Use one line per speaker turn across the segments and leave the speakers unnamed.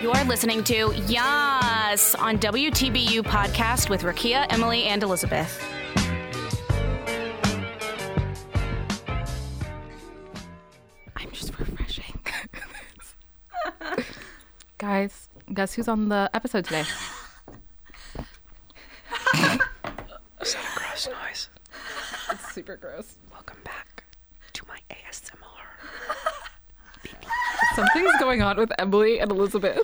You're listening to Yas on WTBU podcast with Rakia, Emily, and Elizabeth. I'm just refreshing.
Guys, guess who's on the episode today?
Gross noise.
It's super gross.
Welcome back to my ASMR.
Something's going on with Emily and Elizabeth.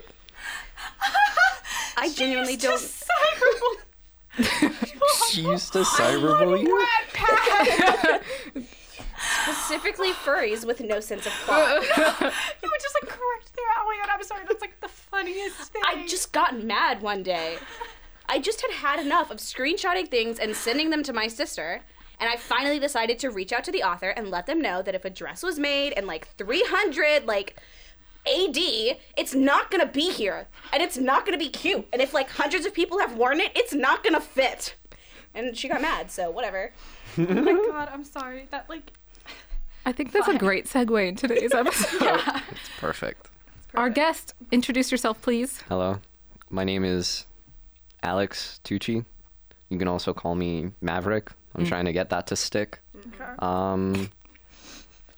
I genuinely don't.
She used to cyberbully you?
Specifically, furries with no sense of plot.
You would just like correct their. Oh my god, I'm sorry. That's like the funniest thing.
I just got mad one day. I just had had enough of screenshotting things and sending them to my sister. And I finally decided to reach out to the author and let them know that if a dress was made in like 300, like AD, it's not gonna be here. And it's not gonna be cute. And if like hundreds of people have worn it, it's not gonna fit. And she got mad, so whatever.
oh my god, I'm sorry. That like.
I think that's a great segue in today's episode.
Perfect.
Our guest, introduce yourself, please.
Hello. My name is Alex Tucci. You can also call me Maverick. I'm trying to get that to stick. Um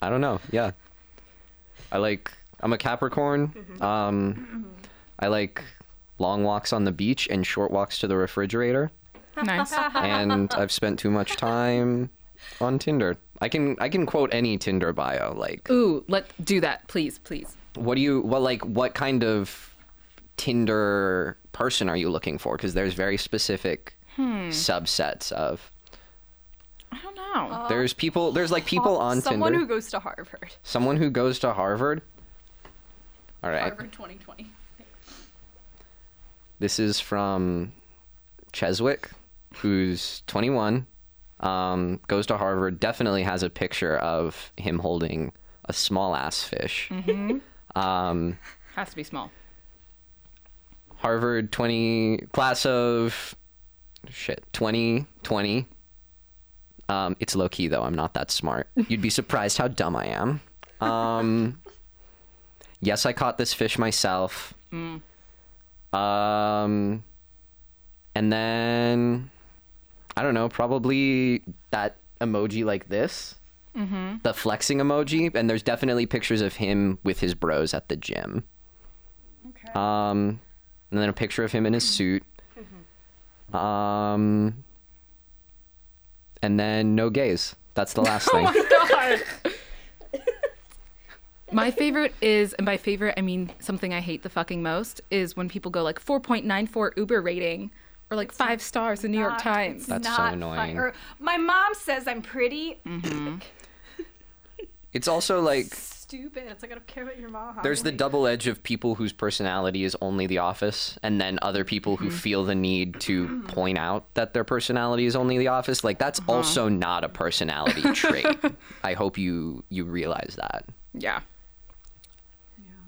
I don't know. Yeah. I like I'm a Capricorn. Um I like long walks on the beach and short walks to the refrigerator.
Nice.
and I've spent too much time on Tinder. I can I can quote any Tinder bio. Like,
Ooh, let do that, please, please.
what do you what like what kind of Tinder person are you looking for? Because there's very specific subsets of.
Hmm. I don't know.
There's people. There's like people on
Uh, Someone
Tinder.
who goes to Harvard.
someone who goes to Harvard. All right.
Harvard 2020.
This is from Cheswick, who's 21, um, goes to Harvard, definitely has a picture of him holding a small ass fish. Um,
Has to be small.
Harvard 20, class of shit, 2020. Um, it's low key though, I'm not that smart. You'd be surprised how dumb I am. Um, yes, I caught this fish myself. Um, and then I don't know, probably that emoji like this, the flexing emoji, and there's definitely pictures of him with his bros at the gym. Okay. Um, and then a picture of him in his suit. Um, and then no gays. That's the last thing.
My favorite is, and by favorite I mean something I hate the fucking most, is when people go like 4.94 Uber rating or like five stars in New York Times.
That's so
Not
annoying.
Fun. Or, my mom says I'm pretty
It's also like
stupid. It's like I don't care about your mom.
there's the double edge of people whose personality is only the office, and then other people who feel the need to point out that their personality is only the office. Like that's also not a personality trait. I hope you you realize that.
Yeah.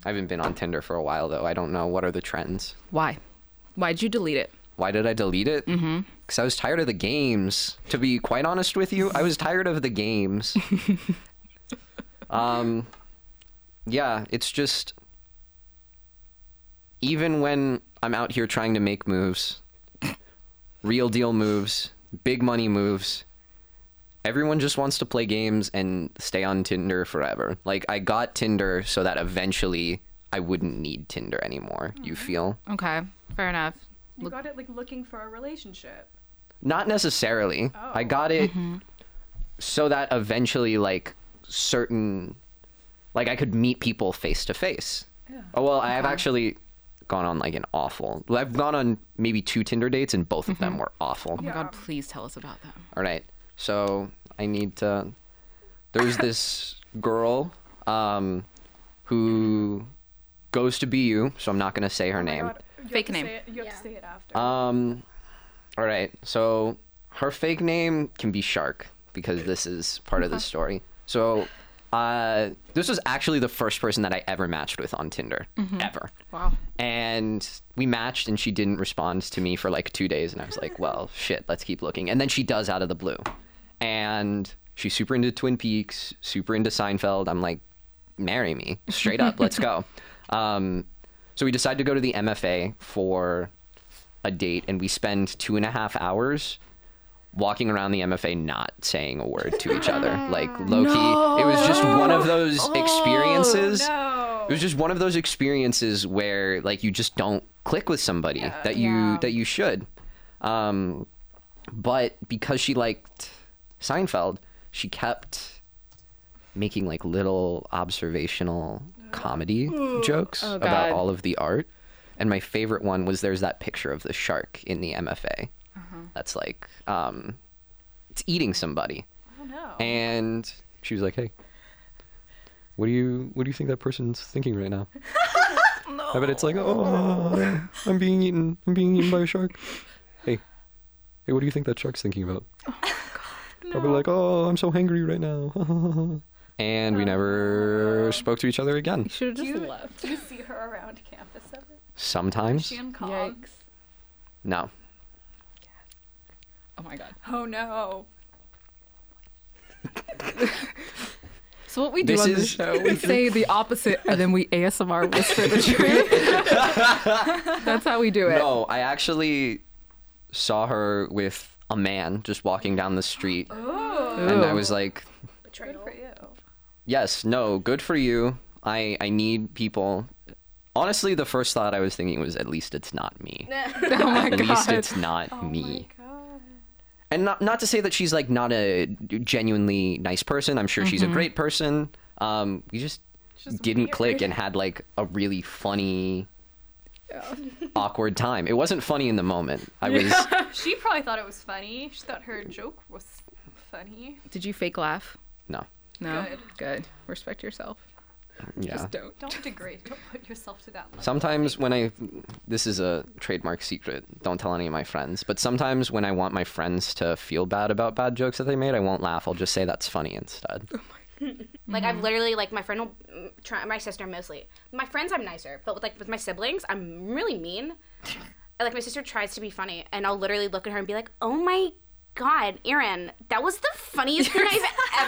I haven't been on Tinder for a while though. I don't know what are the trends.
Why? Why'd you delete it?
Why did I delete it? Because mm-hmm. I was tired of the games. To be quite honest with you, I was tired of the games. um, yeah, it's just even when I'm out here trying to make moves, real deal moves, big money moves, everyone just wants to play games and stay on Tinder forever. Like I got Tinder so that eventually I wouldn't need Tinder anymore. You feel?
Okay, fair enough. Oh
You got it like looking for a relationship.
Not necessarily. I got it so that eventually, like, certain, like, I could meet people face to face. Oh, well, I have actually gone on, like, an awful, well, I've gone on maybe two Tinder dates, and both of them were awful.
Oh my God, please tell us about them.
All right. So I need to. There's this girl um, who goes to BU, so I'm not going to say her name.
God, you have
Fake
to
name.
say it- you have to say it after.
Um, all right. So her fake name can be Shark because this is part of the story. So, uh, this was actually the first person that I ever matched with on Tinder ever.
Wow.
And we matched, and she didn't respond to me for like two days, and I was like, well, shit, let's keep looking. And then she does out of the blue, and she's super into Twin Peaks, super into Seinfeld. I'm like, marry me, straight up, let's go. Um, So we decide to go to the MFA for a date, and we spend two and a half hours walking around the MFA not saying a word to each other. Like low key, it was just one of those experiences. It was just one of those experiences where like you just don't click with somebody that you that you should. Um, but because she liked Seinfeld, she kept making like little observational comedy jokes
God.
about all of the art. And my favorite one was there's that picture of the shark in the MFA. That's like um, it's eating somebody. Oh no. And she was like, "Hey, what do you what do you think that person's thinking right now?" I bet it's like, "Oh, I'm being eaten. I'm being eaten by a shark." Hey, hey, what do you think that shark's thinking about? Probably like, "Oh, I'm so hangry right now." and we never spoke to each other again.
Should have
Do
just
you,
left.
do you see her around campus ever?
Sometimes,
She and
Yikes.
Cogs.
no.
Oh my god.
Oh no.
So what we do
This
on
is-
this show, we say the opposite and then we ASMR whisper the truth. That's how we do it.
No, I actually saw her with a man just walking down the street, and I
Ooh.
was like,
Good for you.
"Yes, no, good for you. I I need people." Honestly, the first thought I was thinking was, "At least it's not me.
oh my
At
god.
least it's not me." And not not to say that she's like not a genuinely nice person. I'm sure she's a great person. Um, we just, didn't click and had like a really funny. awkward time it wasn't funny in the moment i was
She probably thought it was funny. She thought her joke was funny.
Did you fake laugh?
no
No.
Good.
Good. Respect yourself.
yeah
Just don't.
Don't degrade. Don't put yourself to that level.
Sometimes when I, this is a trademark secret. Don't tell any of my friends. But sometimes when I want my friends to feel bad about bad jokes that they made, I won't laugh. I'll just say that's funny instead.
Like I've literally like my friend will mm, try my sister mostly. My friends I'm nicer, but with like with my siblings I'm really mean. And, like my sister tries to be funny, and I'll literally look at her and be like, "Oh my god, Erin, that was the funniest thing I've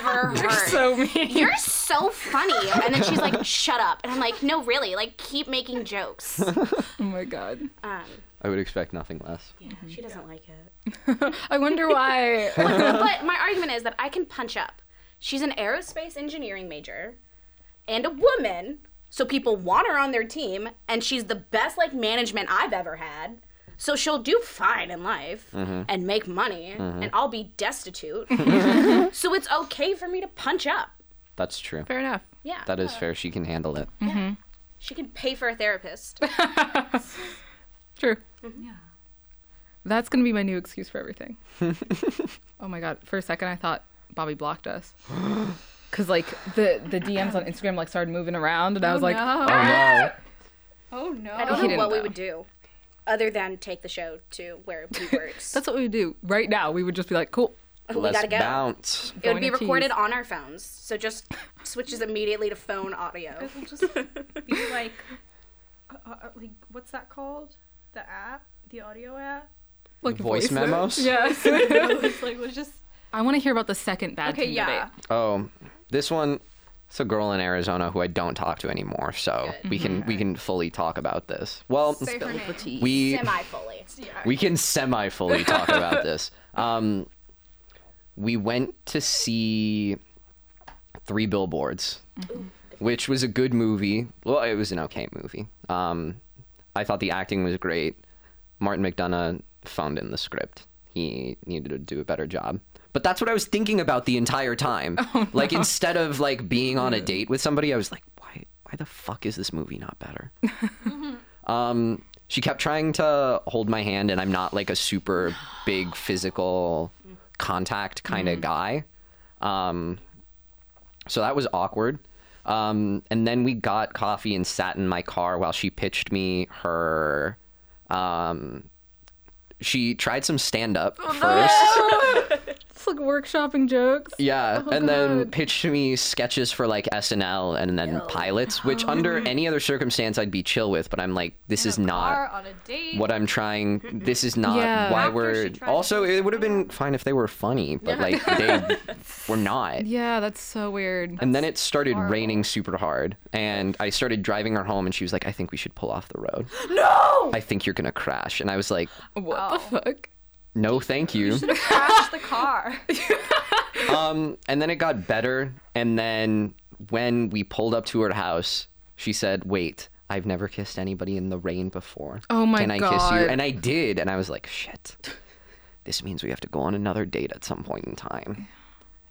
ever heard. You're so mean. You're so funny." And then she's like, "Shut up," and I'm like, "No, really. Like keep making jokes."
Oh my god.
Um,
I would expect nothing less.
yeah, she doesn't like it.
I wonder why.
but my argument is that I can punch up. She's an aerospace engineering major and a woman, so people want her on their team, and she's the best like management I've ever had. So she'll do fine in life and make money, and I'll be destitute. so it's okay for me to punch up.
That's true.
Fair enough.
Yeah.
That is fair. She can handle it.
she can pay for a therapist.
True.
Mm-hmm.
Yeah.
That's gonna be my new excuse for everything. oh my god! For a second, I thought Bobby blocked us, cause like the the DMs on Instagram like started moving around, and I was like,
no.
Oh no!
Oh no.
I
He
don't know
didn't
what we
though.
would do other than take the show to where we works.
"That's what we would do right now. We would just be like, cool,
we
Let's
gotta go.
bounce.
It would be
Going to
recorded
tease.
on our phones, so just switches immediately to phone audio.
It'll just be like, uh, uh, like what's that called? The app, the audio app.
like
Voice
memo.
memos.
Yes.
it's like let's just.
I want to hear about the second bad
Okay,
team
yeah.
debate.
Oh, this one. It's a girl in Arizona who I don't talk to anymore. So we can we can fully talk about this. Well, we
Semi fully.
we can semi fully talk about this. Um, we went to see Three Billboards, which was a good movie. Well, it was an okay movie. Um, I thought the acting was great. Martin McDonough phoned in the script. He needed to do a better job. But that's what I was thinking about the entire time. Like instead of like being on a date with somebody, I was like, why why the fuck is this movie not better? um she kept trying to hold my hand and i'm not like a super big physical contact kind
Mm-hmm.
of guy um so that was awkward um and then we got coffee and sat in my car while she pitched me her
Oh,
um she tried some stand up first
like workshopping jokes.
Yeah,
Oh,
and then
God.
pitched to me sketches for like SNL and then pilots, which under any other circumstance I'd be chill with, but I'm like, this is
Car
not
on Uh, a date.
what I'm trying. This is not
Yeah.
why
Mm-hmm. After
we're.
she tried
Also,
to-
it would have been fine if they were funny, but like they were not.
Yeah, that's so weird.
And then it started raining super hard, and I started driving her home, and she was like, I think we should pull off the road. No! I think you're gonna crash. And I was like,
what the
Oh.
fuck?
no, thank you.
crashed the car.
um, and then it got better. And then when we pulled up to her house, she said, "Wait, I've never kissed anybody in the rain before.
Oh my
Can I kiss you?"
God.
And I did, and I was like, "Shit, this means we have to go on another date at some point in time."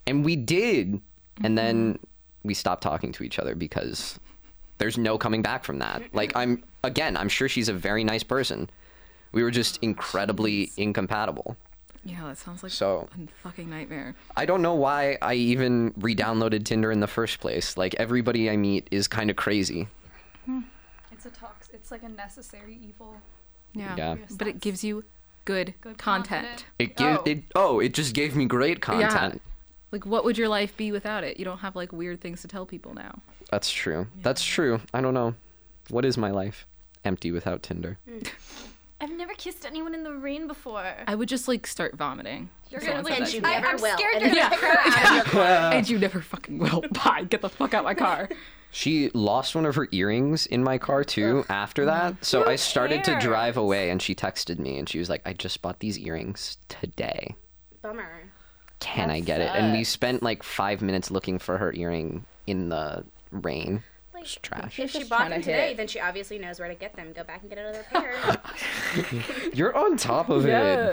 And we did, and then
Mm-hmm.
we stopped talking to each other because there's no coming back from that. Like I'm again, I'm sure she's a very nice person. We were just incredibly incompatible.
Yeah, that sounds like
So-
a fucking nightmare.
I don't know why I even re-downloaded Tinder in the first place. Like everybody I meet is kind of crazy.
It's a tox. It's like a necessary evil.
Yeah.
Yeah.
But it gives you good,
Good
content.
confident.
It gave
Oh.
it oh, it just gave me great content.
Like, what would your life be without it? You don't have like weird things to tell people now.
That's true. That's true. I don't know. What is my life? Empty without Tinder.
I've never kissed anyone in the rain before.
I would just like start vomiting.
You're
Someone
gonna
said
win.
that
you
to me.
never
I'm
will.
scared
And
you're
then-
gonna crash.
and you never fucking will. Bye. Get the fuck out my car.
She lost one of her earrings in my car too after that. So I started to drive away and she texted me and she was like, "I just bought these earrings today.
Bummer.
Can I get it?" And we spent like 5 minutes looking for her earring in the rain. It's trash.
If she bought
trying
them
to hit
today,
it.
then she obviously knows where to get them. Go back and get another pair.
You're on top of
Yeah.
it.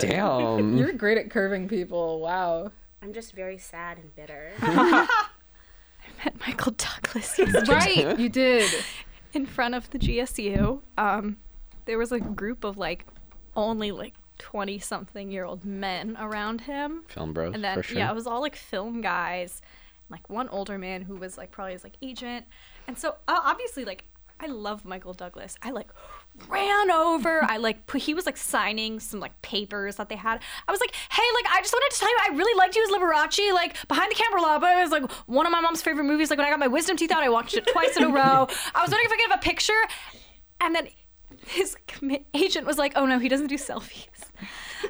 Damn.
You're great at curving people. Wow.
I'm just very sad and bitter.
met Michael Douglas yesterday
Right. you did.
in front of the GSU. Um, there was a group of like only like 20 something year old men around him.
Film bros,
And then
for sure.
yeah, it was all like film guys, like one older man who was like probably his like agent, and so uh, obviously like I love Michael Douglas. I like ran over. I like put, he was like signing some like papers that they had. I was like, hey, like I just wanted to tell you I really liked you as Liberace, like behind the camera law, but it was like one of my mom's favorite movies. Like when I got my wisdom teeth out, I watched it twice in a row. I was wondering if I could have a picture, and then. His commi- agent was like, "Oh no, he doesn't do selfies,"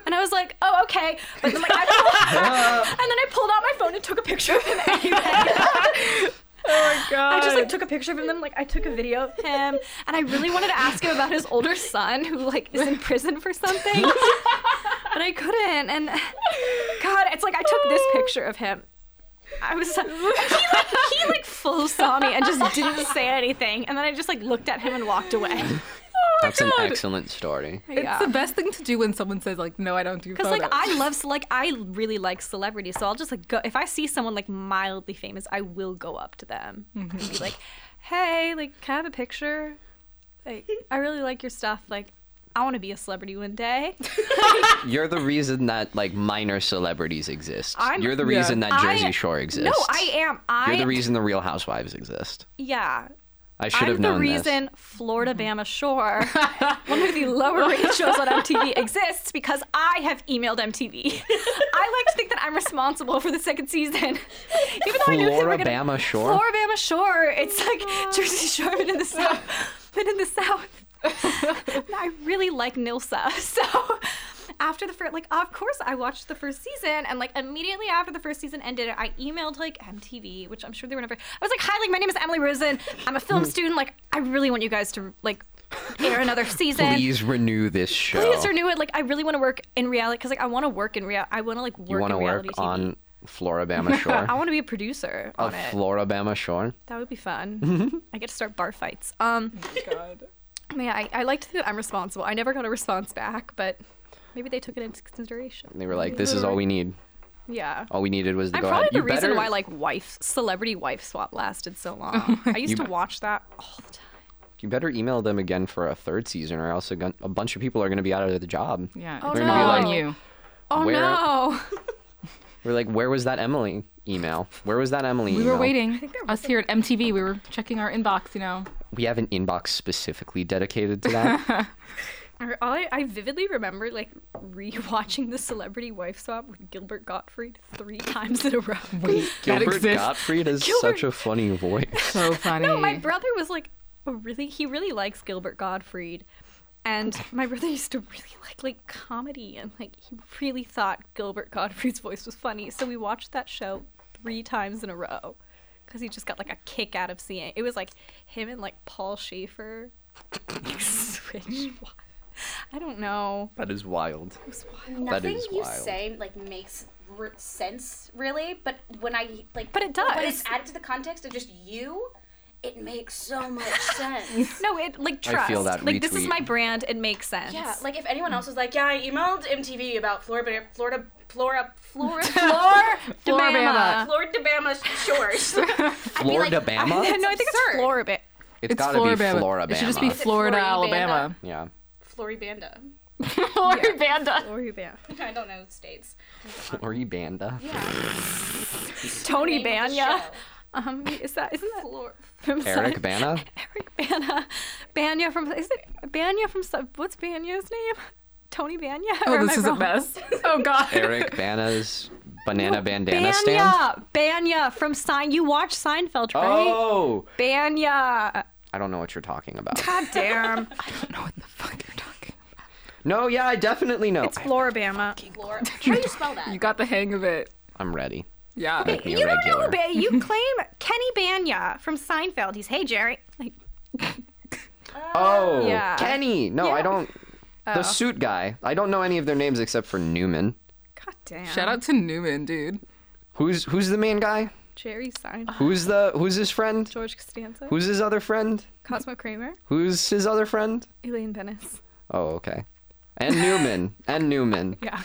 and I was like, "Oh okay." But then, like, I and then I pulled out my phone and took a picture of him anyway. oh my god. I just like took a picture of him then like I took a video of him and I really wanted to ask him about his older son who like is in prison for something. but I couldn't and god, it's like I took this picture of him. I was he like he like full saw me and just didn't say anything and then I just like looked at him and walked away.
That's
"Oh
an excellent story.
Yeah.
It's the best thing to do when someone says like, "No, I don't do
Because
photos."
like I love ce- like I really like celebrities, so I'll just like go if I see someone like mildly famous, I will go up to them and
Mm-hmm.
be like, "Hey, like, can I have a picture? Like, I really like your stuff. Like, I want to be a celebrity one day.
You're the reason that like minor celebrities exist.
I'm-
You're the
Yeah.
reason that
I-
Jersey Shore exists.
No, Oh, I am. I
You're the reason the Real Housewives exist.
yeah.
I should
I'm
have
the
known Mm-hmm.
reason Florida Bama Shore, one of the lower rate shows on MTV, exists because I have emailed MTV. I like to think that I'm responsible for the second season, even though I knew they were gonna
Floribama Shore?
Floribama Shore. It's like Jersey Shore, but in the south. But in the south, And I really like Nilsa. So after the first, like, of course, I watched the first season, and like immediately after the first season ended, I emailed like MTV, which I'm sure they were never. I was like, "Hi, like my name is Emily Rosen. I'm a
Hmm.
film student. Like, I really want you guys to like air another season."
this. Please renew this show.
Please renew it. Like, I really want to work in reality because, like, I want to work in real. I want to like work
you want
in
to work
reality TV.
on uh, Floribama
I
Shore?
want to be a producer
of
on it.
Floribama Shore?
That would be fun. I get to start bar fights. Um, but yeah, I, I like to think that I'm responsible. I never got a response back, but maybe they took it into consideration.
They were like, this is all we need.
Yeah.
All we needed was the
I'm
go
probably
ahead.
the
you
reason
better,
why like wife celebrity wife swap lasted so long. I used
You-
to watch that all the time.
you better email them again for a third season, or else a, gun- a bunch of people are going to be out of the job.
yeah.
Oh,
it's
no.
all on you.
Oh
Where-
no!
We're like, where was that Emily email? Where was that Emily
We
email?
were waiting. Us here at MTV, we were checking our inbox. You know.
We have an inbox specifically dedicated to that.
Or all I, I vividly remember like rewatching the Celebrity Wife Swap with Gilbert Gottfried three times in a row.
Wait, that
Gilbert
exists.
Gottfried has
Gilbert-
such a funny voice.
So funny.
No, my brother was like a really he really likes Gilbert Gottfried. And my brother used to really like like comedy and like he really thought Gilbert Gottfried's voice was funny. So we watched that show three times in a row cuz he just got like a kick out of seeing it. It was like him and like Paul Schaefer switch. I don't know.
that is wild. That
Nothing
is
you
wild.
say like makes r- sense really, but when I like,
But it
When
does.
it's added to the context of just you, it makes so much sense.
No, it like trust.
I feel that
like this is
retweet.
my brand. It makes sense.
yeah, like if anyone else was like, "Yeah, I emailed MTV about Florida, Florida, Flora, Flora, Flora,
Floribama.
Florida, Bama shores."
Florida Bama?
no, I think it's Florida.
it's
it's
gotta be
Florida.
Florida
It should just be
Bama.
Florida,
Floribama?
Alabama.
Yeah.
Floribanda.
Floribanda.
Florida.
I don't know states.
Floribanda.
Tony
Name of the
Banya.
show.
Um, is that isn't that from
Eric
Sun-
Bana?
Eric Bana, Banya from is it Banya from Sun- what's Banya's name? Tony Banya. Or
Oh,
am
this
I
is the
wrong?
best. Oh God.
Eric Bana's banana bandana
Banya,
stand?
Banya from Sein. You watch Seinfeld, right?
Oh!
Banya.
I don't know what you're talking about.
God damn.
I don't know what the fuck you're talking.
No, yeah, I definitely know.
It's Floribama.
Flora. How do you spell that?
You got the hang of it.
I'm ready.
Yeah.
Make me
You
a
don't
regular.
know, ba- You claim Kenny Banya from Seinfeld. He's hey Jerry. Like
Oh,
Yeah. Oh.
Kenny. No, I
Yeah.
don't. The suit guy. I don't know any of their names except for Newman.
God damn.
Shout out to Newman, dude.
Who's who's the main guy?
Jerry Seinfeld.
Who's the who's his friend?
George Costanza.
Who's his other friend?
Cosmo Kramer.
Who's his other friend?
Elaine Bennis.
Oh, okay. And Newman. and Newman.
Yeah.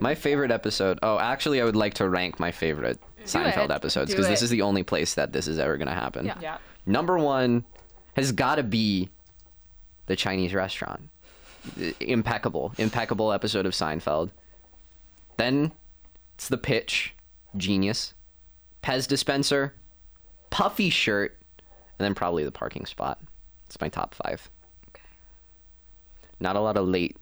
My favorite episode. Oh, actually, I would like to rank my favorite Seinfeld
it.
episodes
Do
because this
it.
is the only place that this is ever going to happen.
Yeah.
Yeah.
Number one has got to be the Chinese restaurant. I- Impeccable, impeccable episode of Seinfeld. Then it's the pitch, genius. Pez dispenser, puffy shirt, and then probably the parking spot. It's my top five. Not a lot of late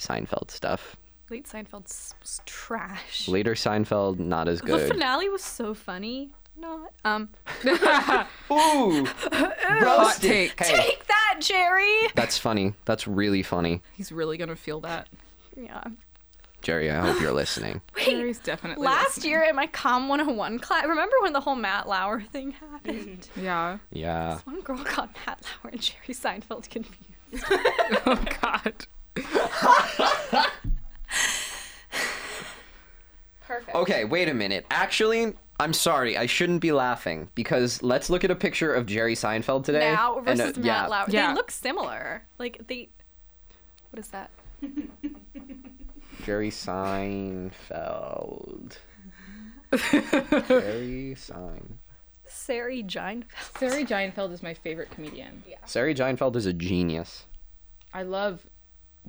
Seinfeld stuff.
Late Seinfeld's was trash.
Later Seinfeld, not as
The
good.
finale was so funny. Not um.
Ooh,
Hot
roasted.
take.
Hey,
Take that, Jerry.
that's funny. That's really funny,
He's really gonna feel that.
Yeah.
Jerry. I hope you're listening.
Jerry's definitely
Last year in my Com 101 class, remember when the whole Matt Lauer thing happened?
listening. Yeah.
Yeah.
One girl got Matt Lauer and Jerry Seinfeld confused.
Oh God.
Perfect.
Okay, wait a minute. Actually, I'm sorry. I shouldn't be laughing because let's look at a picture of Jerry Seinfeld today.
Now
and, uh,
versus Matt
yeah.
Lauer.
Yeah.
They look similar. Like they. What is that?
Jerry Seinfeld. Jerry Seinfeld.
Sari Geinfeld.
Sarah Giantfeld is my favorite comedian.
Sari Seinfeld is a genius.
I love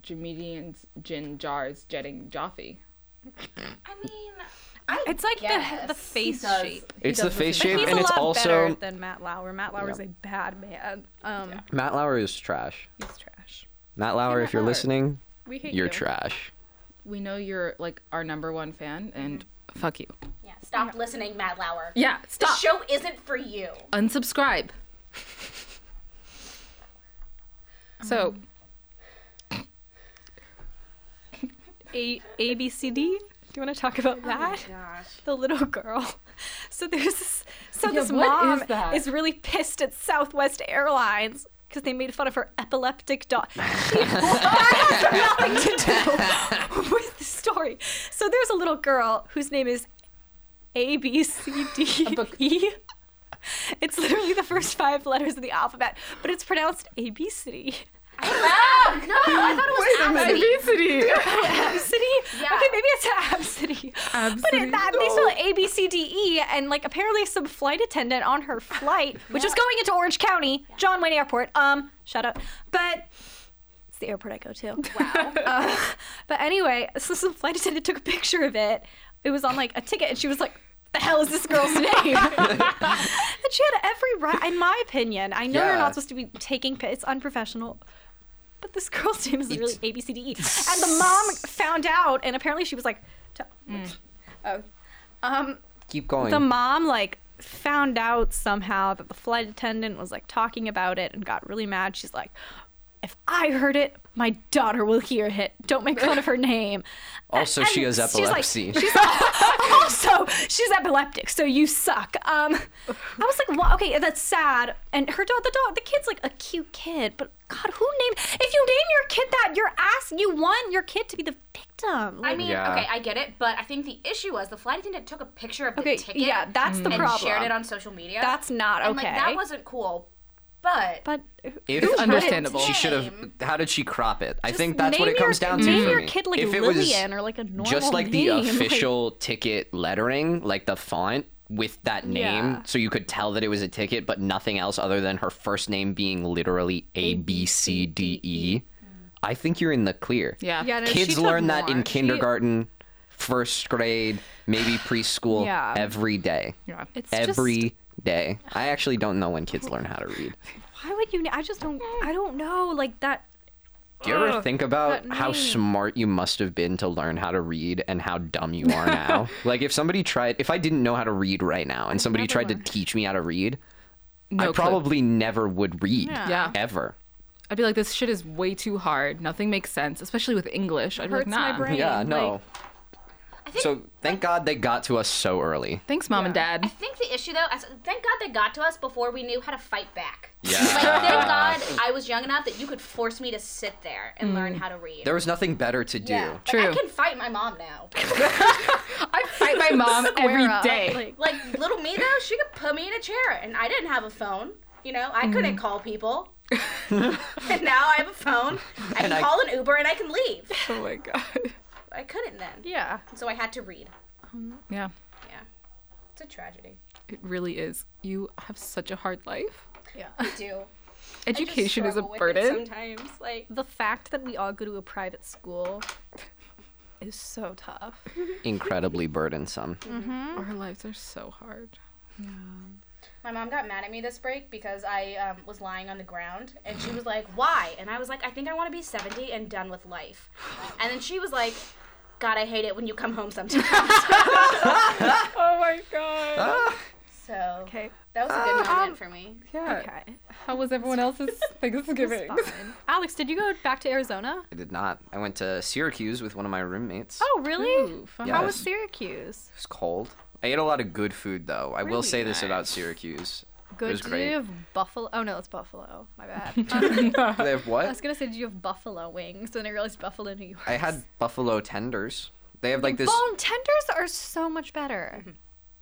comedians Jin Jars jetting Joffe.
I mean, I
It's like the, the
guess.
face
does.
shape.
It's the face
But
shape,
he's
and
a
it's
lot
also
better than Matt Lauer. Matt Lauer's a bad man. Um,
Matt Lauer is trash.
he's trash.
Matt Lauer, if
Matt
you're
Lauer.
listening,
We hate
you're
you.
trash.
We know you're like our number one fan, and
Mhm.
fuck you.
Yeah, stop listening, Matt Lauer.
Yeah.
The
Stop.
show isn't for you.
Unsubscribe. So
A A B C D. Do you want to talk about
Oh
that? The little girl. So there's this, so
Yeah,
this
what
mom
is that?
is really pissed at Southwest Airlines because they made fun of her epileptic dog. She, that has nothing to do with the story. So there's a little girl whose name is A B C D E. It's literally the first five letters of the alphabet, but it's pronounced A B C D.
Oh, no, I thought it was Absidy.
obesity.
Absidy?
Yeah.
Okay, maybe it's Absidy. But
Absidy.
it, that, they spell it A, B, C, D, E, and like apparently some flight attendant on her flight, which was going into Orange County, John Wayne Airport, um, shut up. But it's the airport I go to. Wow. Uh, but anyway, so some flight attendant took a picture of it. It was on like a ticket, and she was like, the hell is this girl's name? and she had every right, in my opinion. I know you're
Yeah.
not supposed to be taking pi- it's unprofessional. but this girl's name is
Eat.
really A B C D E, and the mom found out, and apparently she was like, t- oh, um,
Keep going.
the mom like found out somehow that the flight attendant was like talking about it and got really mad. She's like, if I heard it, my daughter will hear it. Don't make fun of her name.
also, she
And
has
she's like-
epilepsy.
she's also she's epileptic, so you suck. Um, I was like, well, okay, that's sad. And her dog, the dog, the kid's like a cute kid, but God, who named? If you name your kid that, you're asking you want your kid to be the victim. Like,
I mean,
Yeah.
okay, I get it, but I think the issue was the flight attendant took a picture of the
okay,
ticket
yeah, that's the
and
problem.
shared it on social media.
that's not okay.
And, like that wasn't cool, but
but
if
It's understandable.
She should have.
Name.
How did she crop it? I
Just
think that's what
name
it
your-
comes down to
name
for
your
me.
kid, like,
if
Lillian or, like, a
just
normal
like
name,
the
like-
official ticket lettering, like the font with that name,
Yeah.
so you could tell that it was a ticket, but nothing else other than her first name being literally A B C D E. I think you're in the clear.
Yeah.
Yeah, no, she
Kids
took
learn that
more.
in
She-
kindergarten, first grade, maybe preschool,
Yeah.
every day.
Yeah.
it's
Every day.
just,
I actually don't know when kids learn how to read.
why would you? na- I just don't. I don't know. Like that.
Do you ever think about
that
how
name.
smart you must have been to learn how to read and how dumb you are now? like if somebody tried if I didn't know how to read right now and somebody tried to teach me how to read, I
No clue.
probably never would read
Yeah.
ever.
I'd be like, this shit is way too hard. Nothing makes sense, especially with English. I'd be like,
Hurts my
nah.
brain.
Yeah,
like-
no. so thank God they got to us so early.
Thanks, mom and dad.
I think the issue though, as- thank God they got to us before we knew how to fight back.
Yeah.
Like thank God I was young enough that you could force me to sit there and
Mm.
learn how to read.
There was nothing better to do.
Yeah. Like,
True.
I can fight my mom now.
I fight my mom every
Where, uh,
day.
like-
Like little me though, she could put me in a chair, and I didn't have a phone. You know, I
Mm-hmm.
couldn't call people. and now I have a phone. I can
I-
call an Uber and I can leave.
oh my god.
I couldn't then.
yeah.
So I had to read.
Yeah,
Yeah. It's a tragedy.
it really is. You have such a hard life.
I do. I just
Education is a
struggle with it
burden.
Sometimes, like
The fact that we all go to a private school is so tough.
Incredibly burdensome.
Our lives are so hard.
My mom got mad at me this break because I um, was lying on the ground, and she was like, "Why?" And I was like, "I think I want to be seventy and done with life." And then she was like, "God, I hate it when you come home sometimes."
Oh my god.
Ah,
so
Okay.
that was a good
Uh, um,
moment for me.
Yeah.
Okay.
How was everyone else's Thanksgiving?
Alex, did you go back to Arizona?
I did not. I went to Syracuse with one of my roommates.
Oh, really?
Ooh, fun.
Yeah.
How
Yes.
was Syracuse?
It was cold. I ate a lot of good food though. I will
Really
say this about
nice.
Syracuse.
Good.
it was
did
great.
you have buffalo? Oh no, it's buffalo. My bad. Um,
Do they have
I
what?
was gonna say, did you have buffalo wings? Then I realized buffalo New York.
I had buffalo tenders. They have like this.
Bone tenders are so much better.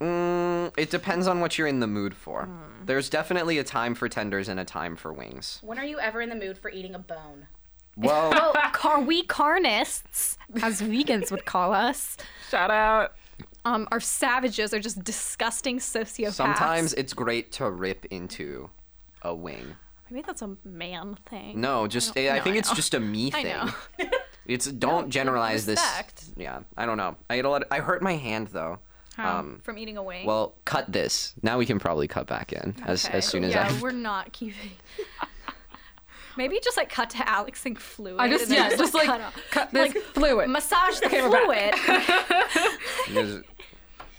Mm, it depends on what you're in the mood for.
Hmm.
There's definitely a time for tenders and a time for wings.
When are you ever in the mood for eating a bone?
Well,
Well, car we carnists, as vegans would call us,
Shout out.
um, are savages, are just disgusting sociopaths.
sometimes it's great to rip into a wing.
maybe that's a man thing.
No, just I, I
no,
think
I
it's
know.
just a me
I
thing.
know.
It's don't generalize this.
respect.
Yeah, I don't know. I ate a lot. I hurt my hand though. Um,
From eating a wing.
well, cut this. Now we can probably cut back in as
Okay.
as soon as
yeah,
I.
we're not keeping. Maybe just like cut to Alex and fluid.
I just
and then
yeah, just like
cut off.
cut this
Like,
fluid.
massage the
we're back.
fluid.
There's-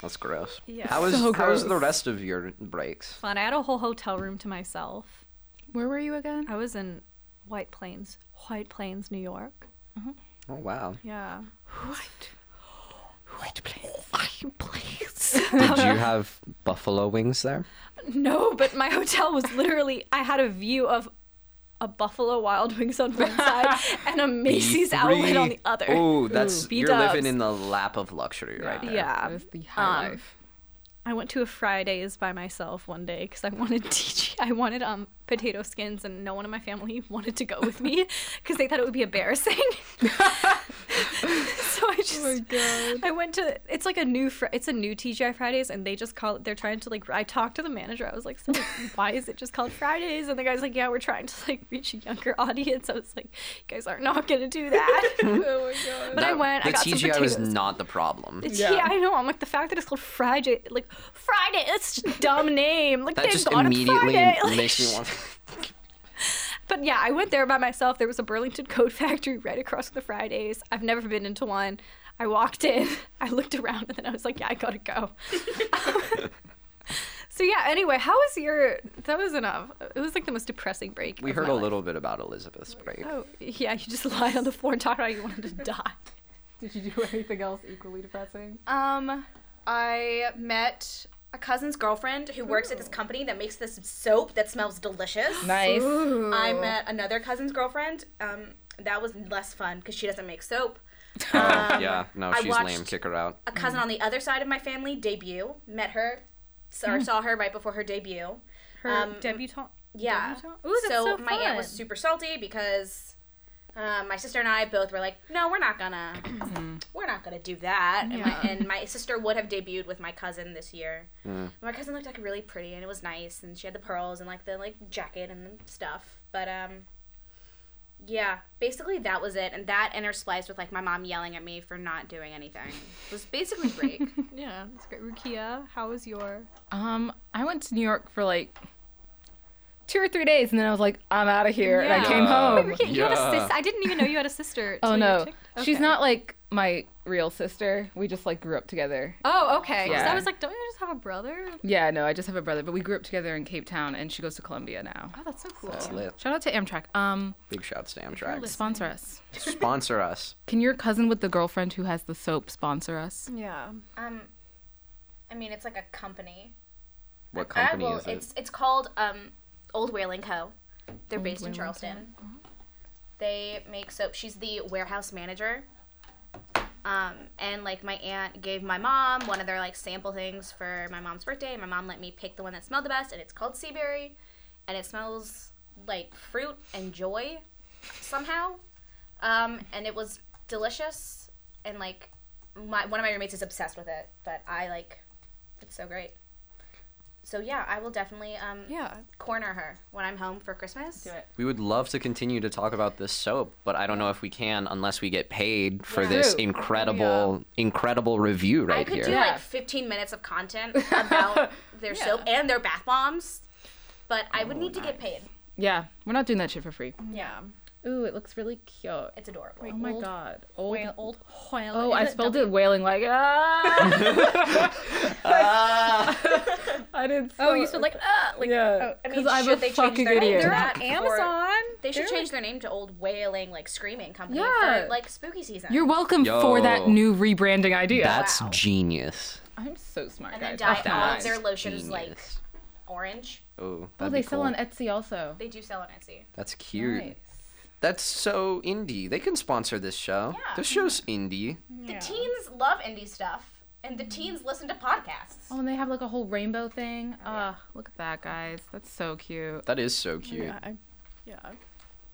That's gross.
Yeah.
How was
So
how was the
gross.
rest of your breaks?
Fun. I had a whole hotel room to myself.
Where were you again?
I was in White Plains, White Plains, New York.
Oh wow.
Yeah.
White place.
White Plains.
Did you have buffalo wings there?
no, but my hotel was literally. I had a view of a Buffalo Wild Wings on one side and a Macy's outlet on the other.
Oh, that's
Ooh.
you're
B-dubs.
living in the lap of luxury right there.
Yeah.
That was the high
Um,
life.
I went to a Fridays by myself one day because I wanted DG. I wanted um potato skins, and no one in my family wanted to go with me because they thought it would be embarrassing. so
Oh
I just I went to it's like a new fr- it's a new TGI Fridays, and they just call it. They're trying to like. I talked to the manager. I was like, so like, why is it just called Fridays? And the guy's like, yeah, we're trying to like reach a younger audience. I was like, you guys are not gonna do that.
Oh my god.
But I went.
The
I got some
TGI
potatoes.
was not the problem.
It's,
Yeah.
yeah. I know. I'm like the fact that it's called Friday, like Friday. It's just a dumb name. Like
that
they've
just
gone on
immediately
Friday. Like,
makes me want.
But yeah, I went there by myself. There was a Burlington coat factory right across from the Fridays. I've never been into one. I walked in, I looked around, and then I was like, yeah, I gotta go. so yeah, anyway, how was your. That was enough. It was like the most depressing break.
We
of
heard
my
a
life.
little bit about Elizabeth's break.
Oh, yeah, you just lied on the floor and talked about how you wanted to die.
Did you do anything else equally depressing?
Um, I met a cousin's girlfriend who works at this company that makes this soap that smells delicious.
Nice.
I met another cousin's girlfriend. Um, that was less fun because she doesn't make soap. Um,
yeah, no,
I
she's lame.
watched-
Kick her out.
Oh.
a cousin on the other side of my family debut. Met her, saw, or saw her right before her debut.
Her
Um,
debutante.
Yeah.
debutante? Ooh, that's so
my aunt was
fun.
super salty because uh, my sister and I both were like, "No, we're not gonna, we're not gonna do that." And, my, and my sister would have debuted with my cousin this year. My cousin looked like really pretty, and it was nice, and she had the pearls and like the like jacket and stuff. But um, yeah, basically that was it, and that interspliced with like my mom yelling at me for not doing anything was basically break.
Yeah, that's great. Rukia, how was your.
Um, I went to New York for like two or three days, and then I was like, I'm out of here, and I
Yeah.
came home.
Rukia, you had a
Yeah.
sis- I didn't even know you had a sister.
Oh
till you
no,
checked-
she's
Okay.
not like my real sister. We just like grew up together.
Oh, okay. 'Cause
Yeah.
I was like, don't you just have a brother?
Yeah, no, I just have a brother, but we grew up together in Cape Town, and she goes to Columbia now.
Oh, that's so cool.
Lit.
Shout out to Amtrak. Um,
Big shouts to Amtrak.
sponsor us.
Sponsor us.
Can your cousin with the girlfriend who has the soap sponsor us?
Yeah.
um, I mean, it's like a company.
What
I
company
will-
is it?
It's it's called um, Old Whaling Co. They're based in Charleston. They make soap. She's the warehouse manager. Um, and like my aunt gave my mom one of their like sample things for my mom's birthday. and My mom let me pick the one that smelled the best, and it's called Seaberry, and it smells like fruit and joy, somehow. Um, and it was delicious, and like my one of my roommates is obsessed with it, but I like it's so great. So yeah, I will definitely um
Yeah.
corner her when I'm home for Christmas.
Do it.
We would love to continue to talk about this soap, but I don't know if we can unless we get paid for this
True.
incredible, incredible review
I
right
could
here.
do
Yeah.
like 15 minutes of content about their soap and their bath bombs, but I
Oh
would need to get paid.
Yeah, we're not doing that shit for free.
Yeah.
Ooh, it looks really cute.
It's adorable.
Oh my god. Old.
old
Oh, I spelled it wailing like ah.
Ah.
I didn't. Spell
Oh, you spelled like, uh, like
yeah.
I mean,
Because I'm a
should they change
fucking
their name?
idiot.
They're
they're
Not
on
for-
Amazon.
They should
They're,
change their name to Old Wailing like Screaming Company
Yeah.
for like spooky season.
You're welcome for that
Yo.
new rebranding idea.
That's
Wow.
genius.
I'm so smart,
and then
guys.
dye
Oh,
all
That's
of their lotions like
genius.
orange.
Oh,
Oh,
that'd
they
be
sell
cool.
on Etsy also.
They do sell on Etsy.
That's cute. That's so indie. They can sponsor this show.
Yeah.
This show's indie.
Mm-hmm.
The teens love indie stuff, and the teens listen to podcasts.
Oh, and they have like a whole rainbow thing.
Oh,
Ah, look at that, guys. That's so cute.
That is so cute.
Yeah. I- yeah.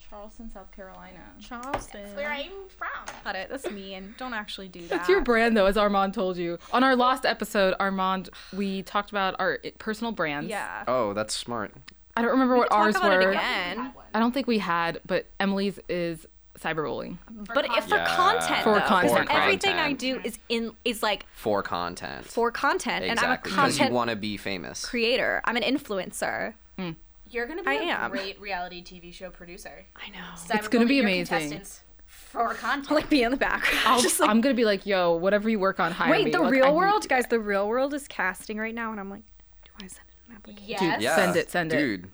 Charleston, South Carolina.
Charleston.
That's where I'm from.
Got it. That's me, and don't actually do that.
That's your brand, though, as Armand told you. On our last episode, Armand, we talked about our i- personal brands.
Yeah.
Oh, that's smart.
I don't remember what
Talk
ours
about it
were.
again.
I don't think we had, but Emily's is cyberbullying.
But if for
Yeah.
content,
For
though, 'cause
content. For
everything I
content.
do is in is like
For content.
for content, and I'm a
exactly. Because you
content
want to be famous.
creator. I'm an influencer.
You're gonna be
I
a
am.
great reality TV show producer.
I know.
It's
gonna be amazing.
For content.
Like be in the background.
I'll,
just like
I'm gonna be like, yo, whatever you work on, hire
wait,
me.
the
Like, I
real
need-
world, guys. The real world is casting right now, and I'm like, do I send an application?
yes.
Dude,
yeah.
Send it, send it.
Dude,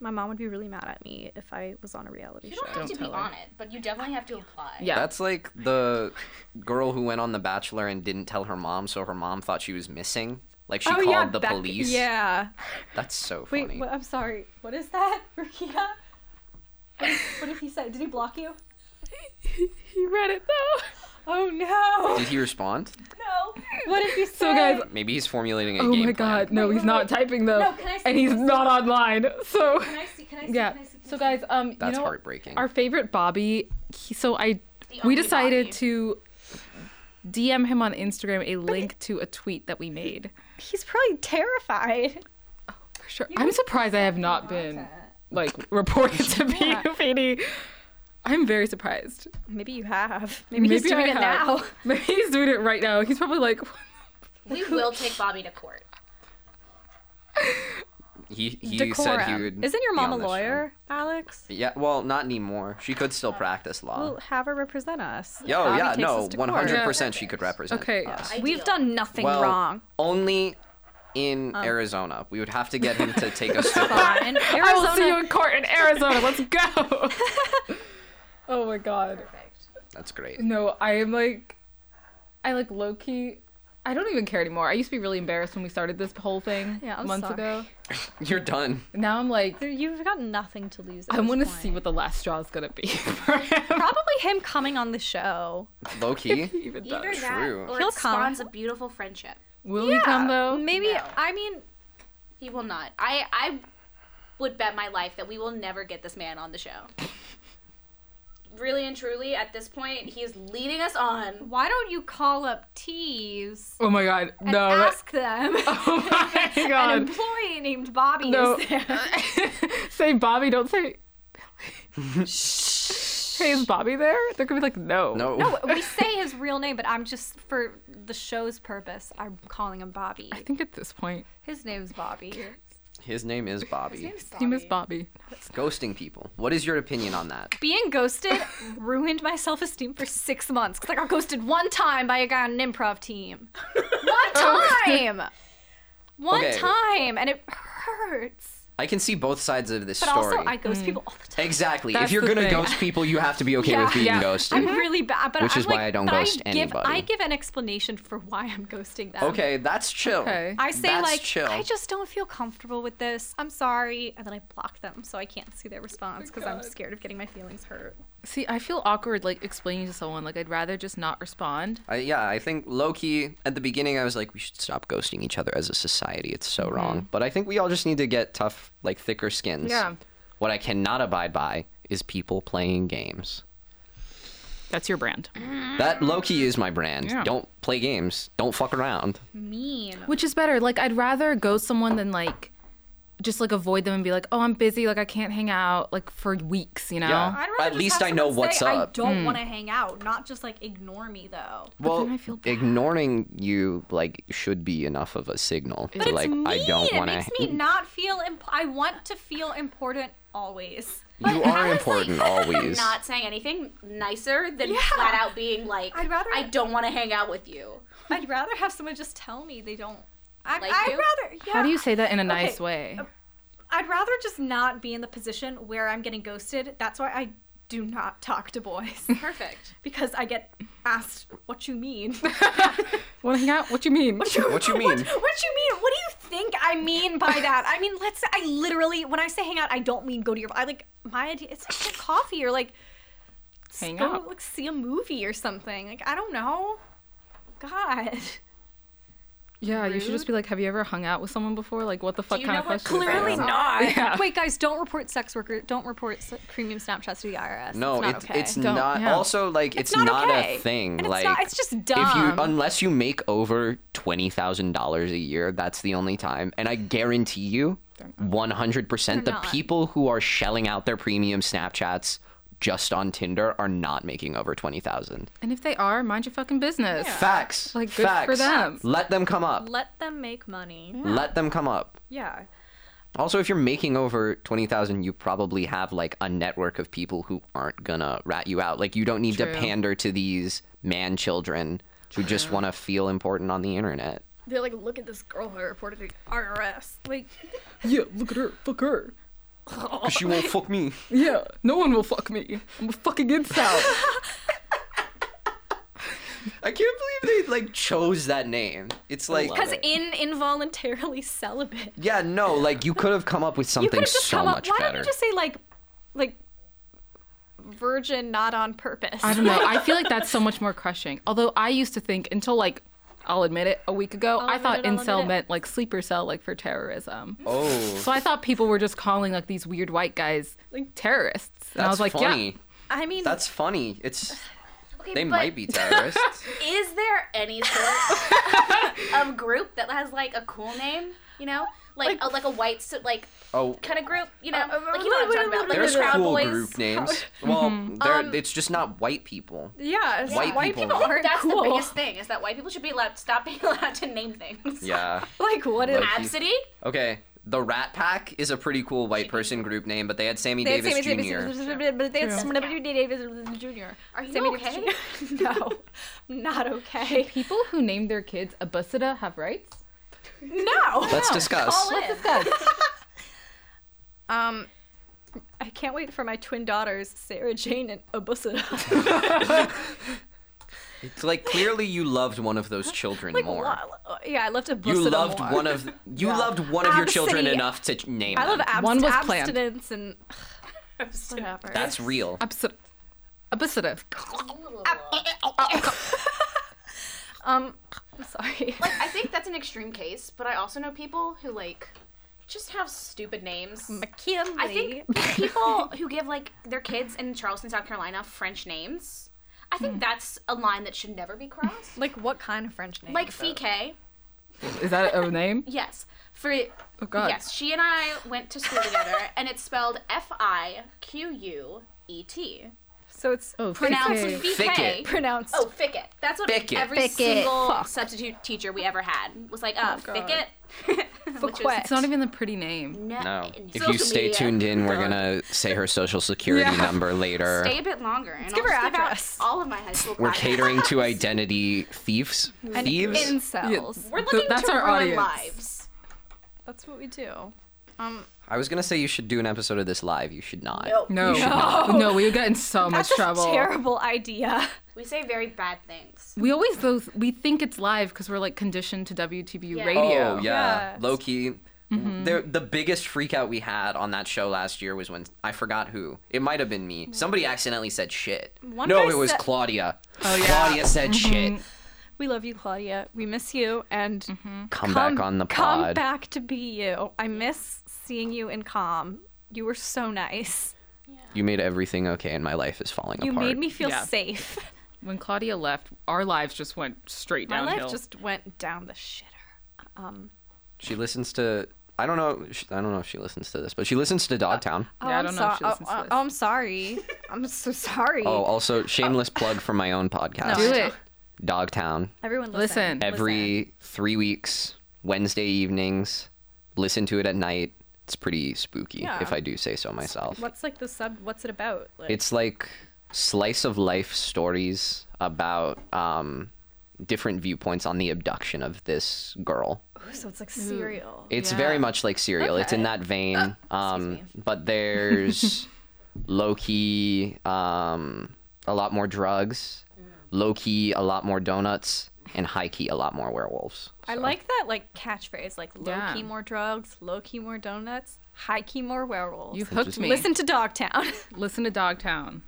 My mom would be really mad at me if I was on a reality
You
show.
don't have to be
tell her.
on it, but you definitely have to apply.
Yeah.
that's like the girl who went on The Bachelor and didn't tell her mom, so her mom thought she was missing. Like she
Oh,
called the
Oh, that-
police.
Yeah.
That's so funny.
Wait, what, I'm sorry. What is that, Rukia? What, what did he say? Did he block you?
He read it though.
Oh no!
Did he respond?
No. What did he say?
So guys,
Maybe he's formulating a
oh
game
my
plan.
god, no, he's not typing though,
No, can I see
and he's
this?
not online. So
Can I see? Can I see?
yeah.
Can I see?
So guys, um,
That's
you know,
heartbreaking.
our favorite Bobby. He, so I, we
only
decided
Bobby.
to DM him on Instagram a link to a tweet that we made.
He's probably terrified.
For sure, I'm surprised I have not been like reported to
Yeah.
be Fady. I'm very surprised.
Maybe you have. Maybe, he's
Maybe I
doing it
have.
now.
Maybe he's doing it right now. He's probably like,
We will take Bobby to court.
he he
decorum.
said he would.
um, Isn't your
be
mom a
on this show.
lawyer, Alex?
Yeah, well, not anymore. She could still practice law.
We'll have her represent us.
Yo,
Bobby
yeah,
takes
no,
us to
one
court.
hundred percent, she could represent.
Okay.
us.
We've done nothing
well,
wrong. Um.
Only in Arizona, we would have to get him to take us to court.
Fine. Arizona.
I will see you in court in Arizona. Let's go. oh my god.
That's great.
No, I am like, I like low key. I don't even care anymore. I used to be really embarrassed when we started this whole thing
Yeah, I'm
months
sorry.
ago.
You're done.
Now I'm like,
You've got nothing to lose. At
I want to
this
see
point.
what the last straw is gonna be for him.
Probably him coming on the show.
Low key.
Even done.
Either that,
True.
or
He'll
it spawns
come.
a beautiful friendship.
Will he come though?
Maybe I mean
He will not. I I would bet my life that we will never get this man on the show. really and truly, at this point, he is leading us on.
Why don't you call up Tees
Oh my god,
and
no. that-
ask them?
oh my
An
god.
employee named Bobby
No.
is there.
say Bobby, don't say Hey, is Bobby there? They're gonna be like, no.
No.
No, Oh, we say his real name, but I'm just for the show's purpose. I'm calling him Bobby.
I think at this point,
His name's Bobby.
His name is Bobby.
he miss Bobby.
Ghosting people. What is your opinion on that?
Being ghosted ruined my self-esteem for six months because I got ghosted one time by a guy on an improv team. One time. One
Okay.
time, and it hurts.
I can see both sides of this
But
story.
also, I
Mm.
ghost people all the time.
Exactly.
That's
if you're
the
gonna
thing.
ghost people, you have to be okay
Yeah.
with being
Yeah.
ghosted.
I'm really bad, but
Which
I'm
is why
like-
I don't
but
ghost
give,
anybody.
I give an explanation for why I'm ghosting them.
Okay, that's chill.
Okay.
I say
That's
like,
chill.
I just don't feel comfortable with this. I'm sorry, and then I block them so I can't see their response
Oh
because I'm scared of getting my feelings hurt.
See, I feel awkward like explaining to someone. Like, I'd rather just not respond.
I, yeah, I think Loki. At the beginning, I was like, we should stop ghosting each other as a society. It's
Mm-hmm.
so wrong. But I think we all just need to get tough, like thicker skins.
Yeah.
What I cannot abide by is people playing games.
That's your brand.
Mm.
That Loki is my brand.
Yeah.
Don't play games. Don't fuck around.
Mean.
Which is better. Like, I'd rather go someone than like just like avoid them and be like, oh, I'm busy. Like, I can't hang out like for weeks, you know?
Yeah.
I'd rather
At
just
least
have
I know
someone
what's
say, I
up."
don't
Hmm.
want to hang out, not just like ignore me though.
well,
then I feel bad.
ignoring you like should be enough of a signal.
But
to,
it's
like
mean.
I don't
it
want
makes me not feel. Imp- I want to feel important always.
You are important always.
Not saying anything nicer than flat out being like,
I'd rather-
I don't want to hang out with you.
I'd rather have someone just tell me they don't. I,
Like
I'd
you?
rather. Yeah.
How do you say that in a nice
Okay.
way?
I'd rather just not be in the position where I'm getting ghosted. That's why I do not talk to boys
Perfect.
because I get asked what you mean.
Want to hang out? What you mean?
What you
What, what you
mean?
mean? What do you think I mean by that? I mean, let's. I literally, when I say hang out, I don't mean go to your. I like my idea. It's like get coffee or like s-
Hang
go
out.
like see a movie or something. Like I don't know. God,
yeah, you should just be like, have you ever hung out with someone before? Like, what the fuck
you
kind
know
of
what
question? is that?
clearly
Yeah.
not.
Yeah.
Wait, guys, don't report sex worker. Don't report s- premium Snapchats to the IRS.
No,
it's not
it's
okay.
it's
Don't-
not.
yeah.
Also, like it's,
not
not,
okay.
a thing.
And it's
like
not- it's just
If
dumb.
you unless you make over twenty thousand dollars a year, that's the only time. And I guarantee you, one hundred percent, the
They're not.
people who are shelling out their premium Snapchats just on Tinder are not making over twenty thousand.
And if they are, mind your fucking business.
Facts.
Like, good for
Facts.
them.
Let them come up.
Let them make money.
Let them come up.
Yeah.
Also, if you're making over twenty thousand, you probably have like a network of people who aren't gonna rat you out. Like you don't need
True.
to pander to these man children who just want to feel important on the internet.
They're like, look at this girl who reported the IRS. Like,
Yeah, look at her. Fuck her.
She won't fuck me.
Yeah, no one will fuck me. I'm a fucking incel.
I can't believe they like chose that name. It's like
because in involuntarily celibate.
yeah, no, like you could have come up with
You could
something
have just
so
come up.
much
Why
better.
don't you just say like, like, virgin, not on purpose?
I don't know. I feel like that's so much more crushing. Although I used to think until like I'll admit it, a week ago, I
admit
thought
it, I'll admit
incel
it.
meant like sleeper cell, like for terrorism.
Oh,
So I thought people were just calling like these weird white guys like terrorists. And
that's
I was like,
funny.
yeah.
I mean,
That's funny. It's
Okay,
they
but
might be terrorists.
Is there any sort of group that has like a cool name? You know, like a, like a white so- like
Oh,
kind of group. You know,
uh,
like you know what I'm talking about, like
there's
the Proud
cool
Boys.
group names. Well, they're it's just not white people.
yeah. it's-
White
white
people.
people, aren't
That's
cool.
the biggest thing is that white people should be allowed stop being allowed to name things.
Yeah.
Like, what is?
Like-
Absidy?
Okay, the Rat Pack is a pretty cool white person group name, but they had Sammy
They had
Davis
Sammy Davis
Jr.
Jr. But they had
True.
Sammy Davis Jr.
Are you
Sammy
okay?
Davis Jr. No, I'm not okay.
People who name their kids Abusida have rights?
No.
Let's discuss.
Let's discuss.
Um, I can't wait for my twin daughters, Sarah Jane and Abusada.
It's like clearly you loved one of those children
like,
more.
lo- yeah, I loved Abusada.
You loved
more.
one of you loved one of your children
Abstinence.
enough to ch- name.
I love
them.
abs-
One was planned.
abstinence and whatever.
That's real.
Abusida. Abusida.
um, I'm sorry.
Like, I think that's an extreme case, but I also know people who like just have stupid names.
McKinley.
I think people who give like their kids in Charleston, South Carolina, French names. I
Hmm.
think that's a line that should never be crossed.
Like what kind of French name?
Like
though?
Fike,
Is that a name?
yes. For
Oh, God.
yes, she and I went to school together, and it's spelled F I Q U E T,
So it's
Oh,
pronounced
okay.
Fike.
Thicket.
pronounced.
Oh, Ficket. That's what
Ficket.
every
Ficket.
single
Fuck. Oh,
substitute teacher we ever had was like, uh, Ficket. Which was-
Fiquet.
It's not even a pretty name.
No.
No.
in
If
social
you stay
media.
tuned in, we're gonna say her social security number later.
Stay a bit longer. And
give
I'll
her
just give out
address.
All of my high school.
We're
classes.
catering to identity thieves. Thieves.
incels.
We're
Th-
looking
that's
to
our
ruin
audience.
lives.
That's what we do. Um,
I was gonna say you should do an episode of this live. You should not.
Nope.
No. No, we would get in so much
that's a
trouble.
terrible idea.
We say very bad things.
We always those we think it's live because we're like conditioned to WTBU
Yeah.
radio.
Oh yeah, Mm-hmm.
Yeah.
low key. The the biggest freak out we had on that show last year was when I forgot who. It might have been me. Somebody accidentally said shit.
One
no, it
person-
was Claudia. Oh yeah. Mm-hmm. Claudia said shit.
We love you, Claudia. We miss you, and
Mm-hmm.
Come, back on the
Come
pod.
back to be you. I miss seeing you in calm. You were so nice.
You made everything okay, and my life is falling
You
apart.
made me feel
Yeah.
safe.
When Claudia left, our lives just went straight
My
downhill.
life just went down the shitter. Um,
She listens to. I don't know. she- I don't know if she listens to this, but she listens to Dogtown.
oh,
Yeah, I
I'm
don't know if she
so-
listens to
oh,
this.
oh, I'm sorry. I'm so sorry.
Oh, also shameless plug for my own podcast.
do it.
Dogtown.
Everyone, listen.
Listen.
every three weeks, Wednesday evenings. Listen to it at night. It's pretty spooky,
Yeah.
if I do say so myself.
What's like the sub? What's it about? Like,
It's like slice of life stories about um, different viewpoints on the abduction of this girl.
so it's like serial.
It's very much like Serial. It's in that
Oh,
vein. Um, but there's low key, um, a lot more drugs,
Mm.
low key, a lot more donuts, and high key, a lot more werewolves.
I like that like catchphrase, like low
Yeah.
key more drugs, low key more donuts, high key more werewolves.
You've hooked me.
Listen to Dogtown.
Listen to Dogtown.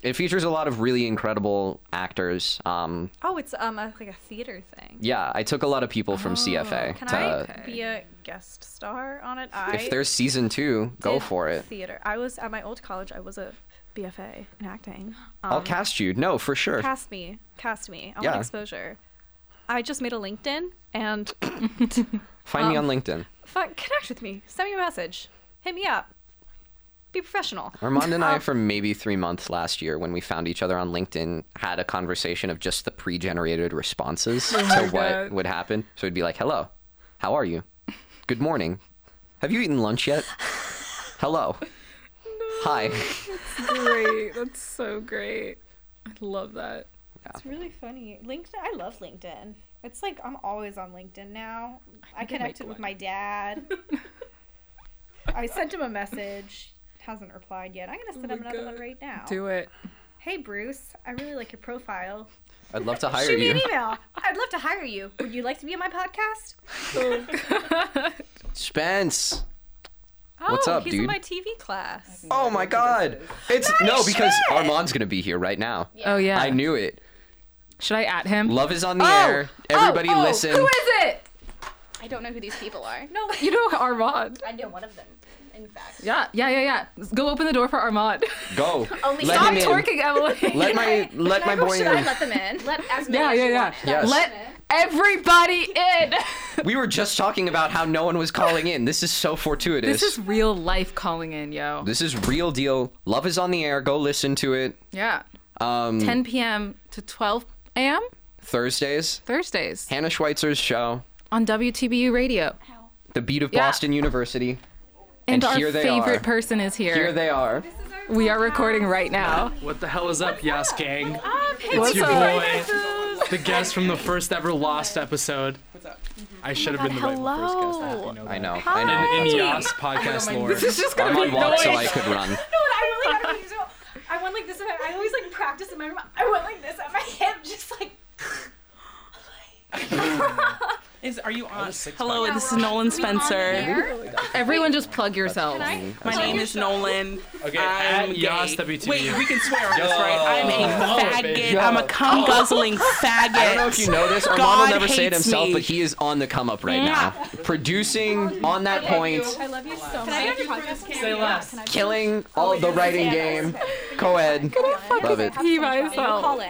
It features a lot of really incredible actors. Um,
oh, it's um a, like a theater thing.
yeah, I took a lot of people from CFA.
Oh, Can
to,
I be a guest star on it? I
uh, If there's season two, go
did
for it.
Theater. I was at my old college. I was a BFA in acting.
I'll cast you. No, for sure.
Cast me, cast me. I
Yeah.
want exposure. I just made a LinkedIn and
Find me on LinkedIn.
fun, connect with me. Send me a message. Hit me up. Be professional.
Armand and
Oh.
I, for maybe three months last year, when we found each other on LinkedIn, had a conversation of just the pre generated responses
Oh
to what
God.
would happen. So it'd be like, hello, how are you? Good morning. Have you eaten lunch yet? Hello. Hi.
great. That's so great. I love that.
It's really funny. LinkedIn. I love LinkedIn. It's like I'm always on LinkedIn now. I, connected with my dad. I sent him a message. Hasn't replied yet. I'm gonna send him another one right now.
Do it.
Hey Bruce, I really like your profile.
I'd love to hire
Shoot me
you.
an email. I'd love to hire you. Would you like to be on my podcast?
Spence.
Oh,
What's up,
he's
dude?
in my TV class.
Oh my god. It's no, because Armand's going to be here right now.
Oh yeah.
I knew it.
Should I at him? Oh!
Love is on the air. Everybody listen.
it?
I don't know who these people are.
No, you know Armand.
I know one of them. In fact,
Yeah, yeah, yeah, yeah. Let's Go open the door for Armand.
Go.
Only-
let
Stop
him in.
twerking, Emily.
Let my let my boy in.
them in?
let as many
yeah,
as
yeah,
you
yeah.
want.
Yes.
Let everybody in.
We were just talking about how no one was calling in. This is so fortuitous.
this is real life calling in, yo.
This is real deal. Love is on the air. Go listen to it.
Yeah.
Um,
10 p.m. to 12 a.m.
Thursdays,
Thursdays
Hannah Schweitzer's show.
on WTBU Radio.
the beat of
Yeah.
Boston University.
And,
And
our
here they
favorite
are.
person is here.
Here they are.
we are recording right now.
What the hell is up, Yas Gang?
What's
it's your
up?
boy, the guest from the first ever Lost episode. What's up? I should have been the rightful first guest. I, hope you know
I
that.
know. I know.
In Yas podcast lore.
This is just gonna
I'm
be
on walk so
noise.
I could run.
No, and I really had to do so. I went like this. In my, I always like practice in my room. I went like this at my hip, just like.
Is are you on?
Hello.
Hello,
This is Nolan Spencer.
Everyone just plug yourselves.
my name is Nolan.
Okay,
I'm
at
gay.
Yas WTV.
Wait, we can swear on this, right? I'm
Yo.
a faggot.
Yo.
I'm a
Oh.
cum guzzling faggot.
I don't know if you know this. Armand
God
will never say it
hates
himself,
me.
but he is on the come up right now. Producing on that point,
I love you so much.
Say less.
killing all the writing game. Co ed. Love it.
Pee myself.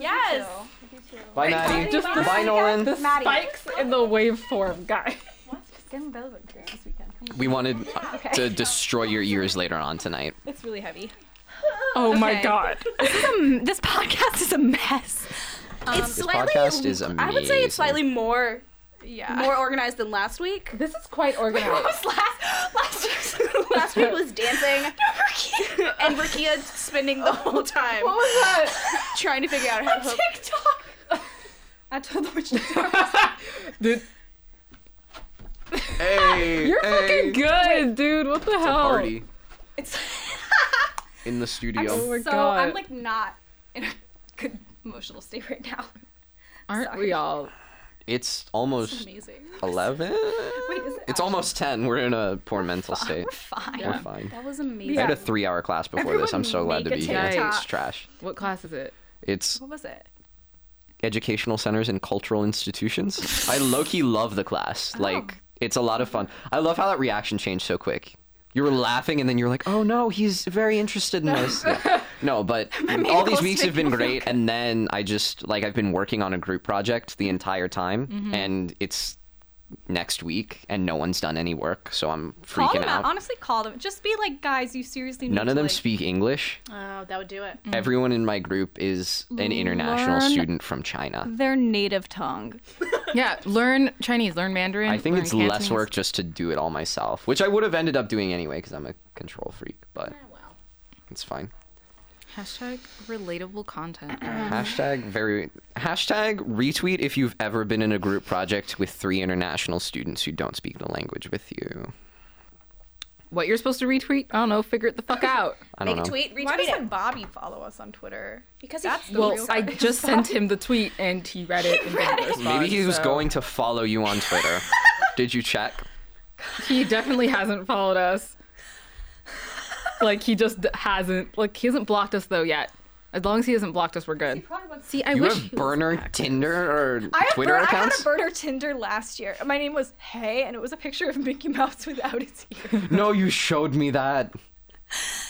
Yes.
Bye, Maddie.
Just the-
Bye, Nolan.
Spikes in the waveform, guy.
We wanted to destroy your ears later on tonight.
It's really heavy.
Oh my
Okay.
god.
This podcast is a mess.
it's
This
slightly.
podcast is amazing.
I would say it's slightly more
Yeah.
more organized than last week.
This is quite organized.
last last
Last week was dancing and Rakia spending the whole time trying to figure out how to hook.
TikTok.
I told them which to
Dude,
Hey,
you're fucking good, Oh. dude. What the hell?
Party
It's
in the
Oh
studio.
my
so
god.
I'm like not in a good emotional state right now.
Aren't we
sorry.
all?
It's almost
Amazing.
11?
Wait, is it?
It's almost 10. We're in a poor mental state.
We're fine.
We're fine.
That was amazing.
I had a three hour class before this. I'm so glad to be here.
TikTok.
It's trash.
What class is it?
It's
What was it?
educational centers and cultural institutions. I low key love the class.
Oh.
Like, it's a lot of fun. I love how that reaction changed so quick. You were laughing, and then you were like, "Oh no, he's very interested in this." Yeah. No, but all these weeks have been great, and then I just like I've been working on a group project the entire time,
Mm-hmm.
and it's next week, and no one's done any work, so I'm
Call
freaking
them out.
out.
Honestly, call them. Just be like, guys, you seriously need
None
to,
of them
like,
speak English.
Oh, that would do it.
Mm.
Everyone in my group is an international
Learn-
student from China.
their native tongue.
Yeah, learn Chinese, learn Mandarin.
I think
learn
it's less
Cantonese.
work just to do it all myself, which I would have ended up doing anyway because I'm a control freak, but it's fine.
Hashtag relatable content.
Hashtag very hashtag retweet if you've ever been in a group project with three international students who don't speak the language with you.
what you're supposed to retweet? I don't know. Figure it the fuck out.
I don't
Make a
know.
tweet, retweet
Why
it.
doesn't Bobby follow us on Twitter?
Because that's the
Well, I just sent him the tweet and he read it. and didn't respond,
Maybe he was
so-
going to follow you on Twitter. Did you check?
He definitely hasn't followed us. Like he just hasn't. Like he hasn't blocked us though yet. As long as he hasn't blocked us, we're good. See, I
you
wish.
have burner Tinder or
I have
Twitter
bur-
accounts?
I had a birder Tinder last year. My name was Hey, and it was a picture of Mickey Mouse without his ear.
no, you showed me that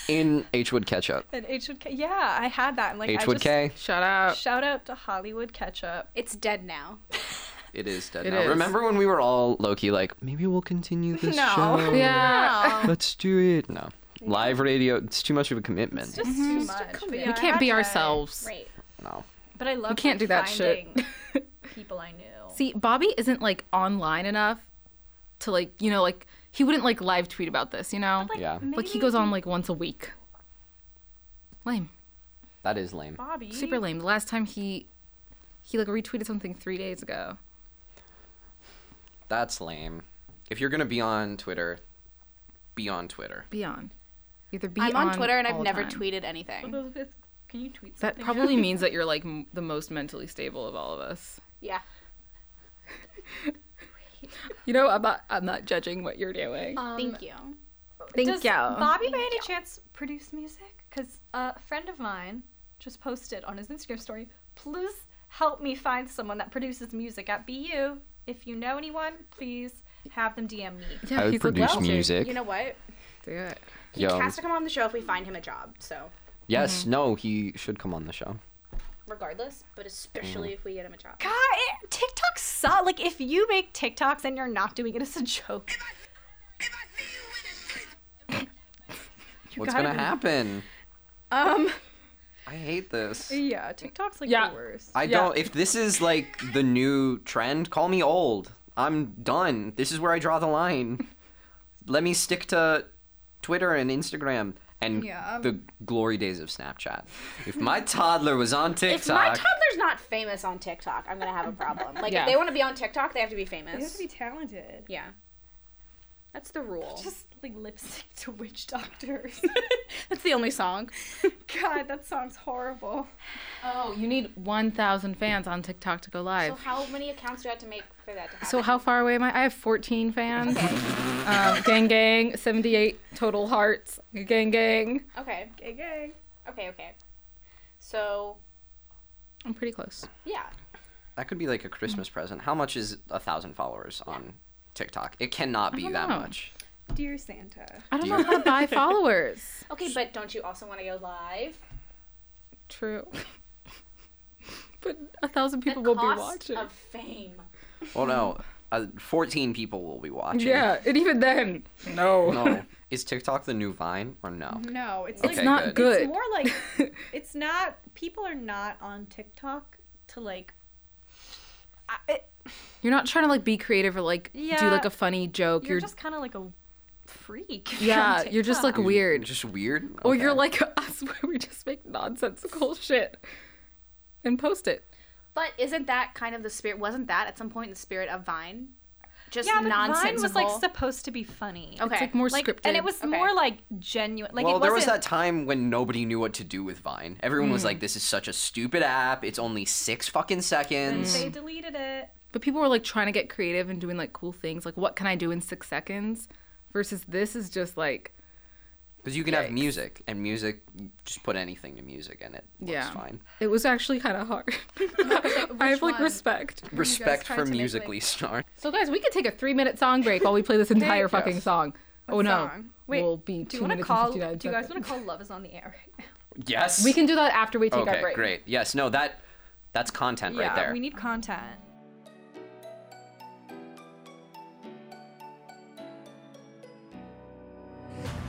in H Wood Ketchup.
and H would K. Yeah, I had that. And like,
H
I
Wood
just-
K.
Shout out.
Shout out to Hollywood Ketchup.
it's dead now.
It is dead
It
now.
is.
Remember when we were all low key like, maybe we'll continue this
No.
show.
Yeah.
Let's do it. No. Live radio, it's too much of a commitment.
Just too much. But yeah,
We
I
can't
had
be
that.
ourselves.
Right.
no.
But I love.
We can't do that shit.
People I knew.
See, Bobby isn't like online enough to like, you know, like he wouldn't like live tweet about this, you know? Like,
Yeah.
he goes on like once a week. Lame.
That is lame.
Bobby.
Super lame. The last time he he like retweeted something 3 days ago.
That's lame. If you're gonna be on Twitter, be on Twitter.
Be on. Either be
I'm on, Twitter and I've
all
never
time.
tweeted anything.
Elizabeth, can you tweet
That
something?
probably means that you're like m- the most mentally stable of all of us.
Yeah.
You know, I'm not I'm not judging what you're doing.
Thank you.
Thank
Does
you.
Bobby by any chance produce music? Because a friend of mine just posted on his Instagram story, please help me find someone that produces music at BU. If you know anyone, please have them DM me.
yeah,
I would
he's
produce
like,
music.
You know what?
Do it.
He
Yo.
has to come on the show if we find him a job. So,
Yes, no, he should come on the show.
regardless, but especially if we get him a job.
God, it- TikTok suck. Like if you make TikToks and you're not doing it, it's a joke.
What's
gotta
gonna
be-
happen?
Um,
I hate this.
yeah, TikTok's like
Yeah.
the worst.
I
Yeah.
don't if this is like the new trend, call me old. I'm done. This is where I draw the line. Let me stick to Twitter and Instagram and
Yeah.
the glory days of Snapchat. If my toddler was on
If my
TikTok,
toddler's not famous on TikTok, I'm gonna have a problem. Like
Yeah.
if they want to be on TikTok, they have to be
You have
famous.
to be talented.
yeah, that's the rule.
Just like lipstick to witch doctors.
That's the only song.
God, that song's horrible.
Oh, you need 1,000 fans on TikTok to go
So
live.
how many accounts do I have to make for that to happen?
So how far away am I? I have 14 fans. Um, gang gang, 78 total hearts. Gang gang.
okay,
Gay gay.
okay, okay. So
I'm pretty close.
yeah,
that could be like a Christmas present. How much is a thousand followers on TikTok? It cannot be
don't
that
know.
much.
Dear Santa.
I don't know how to buy followers.
okay, but don't you also want to go live?
True. But a thousand people
the
will be
cost
watching.
of fame.
Well, no, uh, 14 people will be watching.
Yeah, and even then, no.
No. Is TikTok the new Vine or no?
No, it's
Okay,
like
It's not
It's
good.
more like it's not. People are not on TikTok to like. I, it,
You're not trying to like be creative or like do
Yeah.
like a funny joke.
You're, just kind of like a freak. if you're on
yeah, you're just like
TikTok.
You-
weird.
Just weird?
Or you're
Okay.
like us where we just make nonsensical shit and post it.
But isn't that kind of the spirit? Wasn't that at some point the spirit of Vine? Just
yeah, but Vine was
nonsensical.
like supposed to be funny.
Okay.
It's like more
Like,
scripted.
and it was
Okay.
more like genuine. Like
well,
it
there was
wasn't-
that time when nobody knew what to do with Vine. Everyone was like, "This is such a stupid app. It's only six fucking seconds."
they deleted it.
But people were like trying to get creative and doing like cool things, like what can I do in six seconds? Versus this is just like
Because you can have
Yikes.
music, and music, you just put anything to music, and it looks
Yeah.
fine.
it was actually kind of hard. I have like respect.
Respect
tried
for
to make,
musically snark.
So guys, we could take a three minute song break while we play this entire fucking
Yes.
song. oh no,
song? Wait,
we'll be
Do
two
you want to
minutes
call?
and
Do you
59
guys
seconds.
want to call Love Is on the Air? right
Yes.
We can do that after we take
Okay,
our break.
great. Yes. No, that that's content
yeah,
right there.
we need content.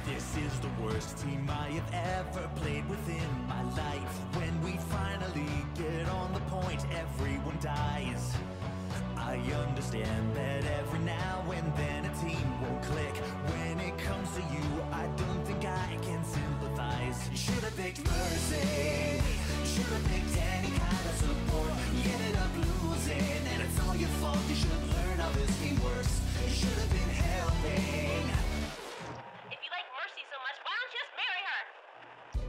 This is the worst team I have ever played within my life. When we finally get on the point, everyone dies. I understand that every now and then a team won't click. When it comes to you, I don't think I can sympathize. Should have picked Mercy. Should have picked any kind of support. You ended up losing, and it's all your fault. You should have learned how this game works. You should have been helping.
If you like Mercy so much, why don't you just marry her?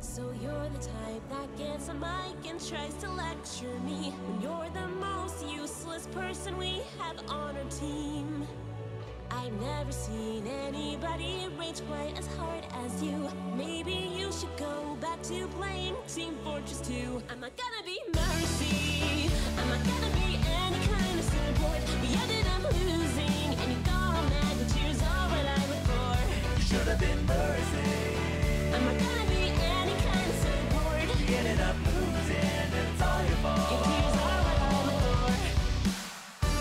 So you're the type that gets a mic and tries to lecture me when you're the most useless person we have on our team. I've never seen anybody rage quite as hard as you. Maybe you should go back to playing Team Fortress 2. I'm not gonna be mercy. I'm not gonna be any kind of support. We ended up losing, and you got all mad, but tears are what I look for.
Should have been mercy.
I'm not gonna be any kind of support.
You ended up losing. It's all your fault.
Your tears are what I look for.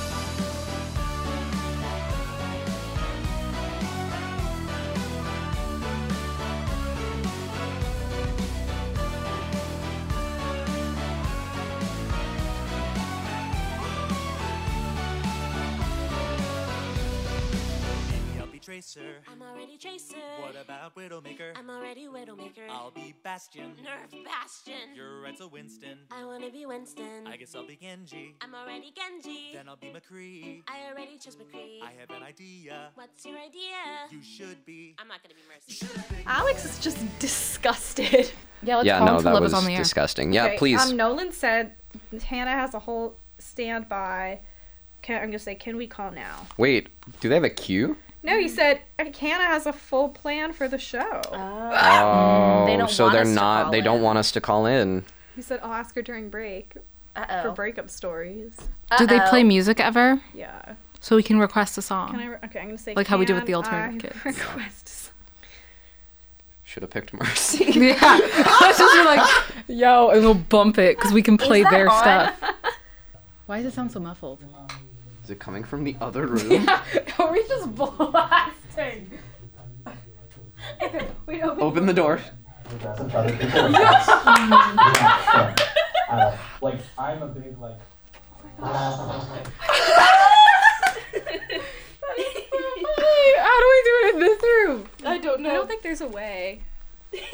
I'll be Tracer.
I'm already Tracer.
What about Widowmaker?
I'm already Widowmaker.
I'll be Bastion.
Nerf Bastion.
You're right, so Winston.
I wanna be Winston.
I guess I'll be Genji.
I'm already Genji.
Then I'll be McCree.
I already chose McCree.
I have an idea.
What's your idea?
You should be.
I'm not gonna be Mercy.
Alex is just disgusted.
Yeah, let's
yeah,
call
no,
until
that
love
was
is on the air.
disgusting. Yeah,
Okay,
please.
Um, Nolan said Hannah has a whole standby. Can, I'm gonna say, can we call now?
Wait, do they have a queue?
No, he said Hannah has a full plan for the show.
Oh,
they don't
so
want
they're
us to
not.
call
They
in.
don't want us to call in.
he said I'll ask her during break
Uh
for breakup stories.
Do they play music ever?
Yeah.
So we can request a song.
Can I? Re- okay, I'm gonna say
Like how we did with the
can I
alternative kids.
Request. some-
Should have picked Mercy.
yeah. Let's just be like, yo, and we'll bump it because we can play their stuff. Why does it sound so muffled?
Is it coming from the other room?
Are we just blasting?
Open the door.
uh,
Like, I'm a big, like,
was away.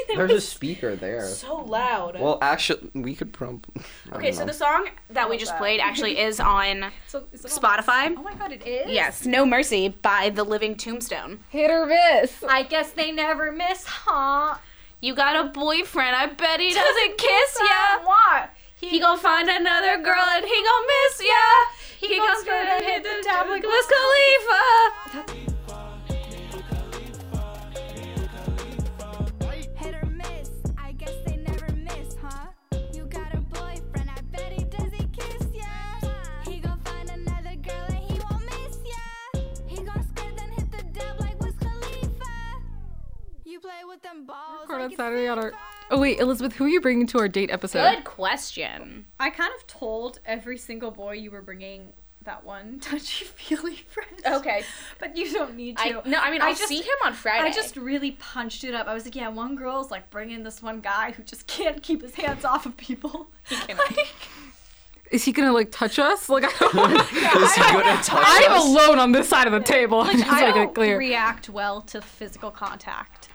There's a speaker there.
So loud.
well, actually, we could probably.
okay, so the song that we just played actually is on Spotify.
Oh my god, it is?
Yes, No Mercy by The Living Tombstone.
Hit or miss.
I guess they never miss, huh?
You got a boyfriend. I bet he doesn't kiss ya.
What?
He, gon' find another girl and he gon' miss ya. He, gon'
gon'
gon' and hit the top like
like
Wiz Khalifa.
Hit or miss, I guess they never miss, huh? You got a boyfriend, I bet he doesn't kiss ya. He gon' find another girl and he won't miss ya. He gon' skirt then hit the dub like Wiz Khalifa. You play with them balls.
Record on Saturday on our. Oh wait, Elizabeth, who are you bringing to our date episode?
Good question.
I kind of told every single boy you were bringing that one touchy feely friend.
Okay.
But you don't need
I,
to.
no, I mean, I'll
just-
see him on Friday.
I just really punched it up. I was like, yeah, one girl's like bringing this one guy who just can't keep his hands off of people. Like,
Is he gonna like touch us? Like I don't.
Is he gonna touch
I'm
us?
alone on this side of the table.
like,
Just
I
making it
don't
clear.
react well to physical contact.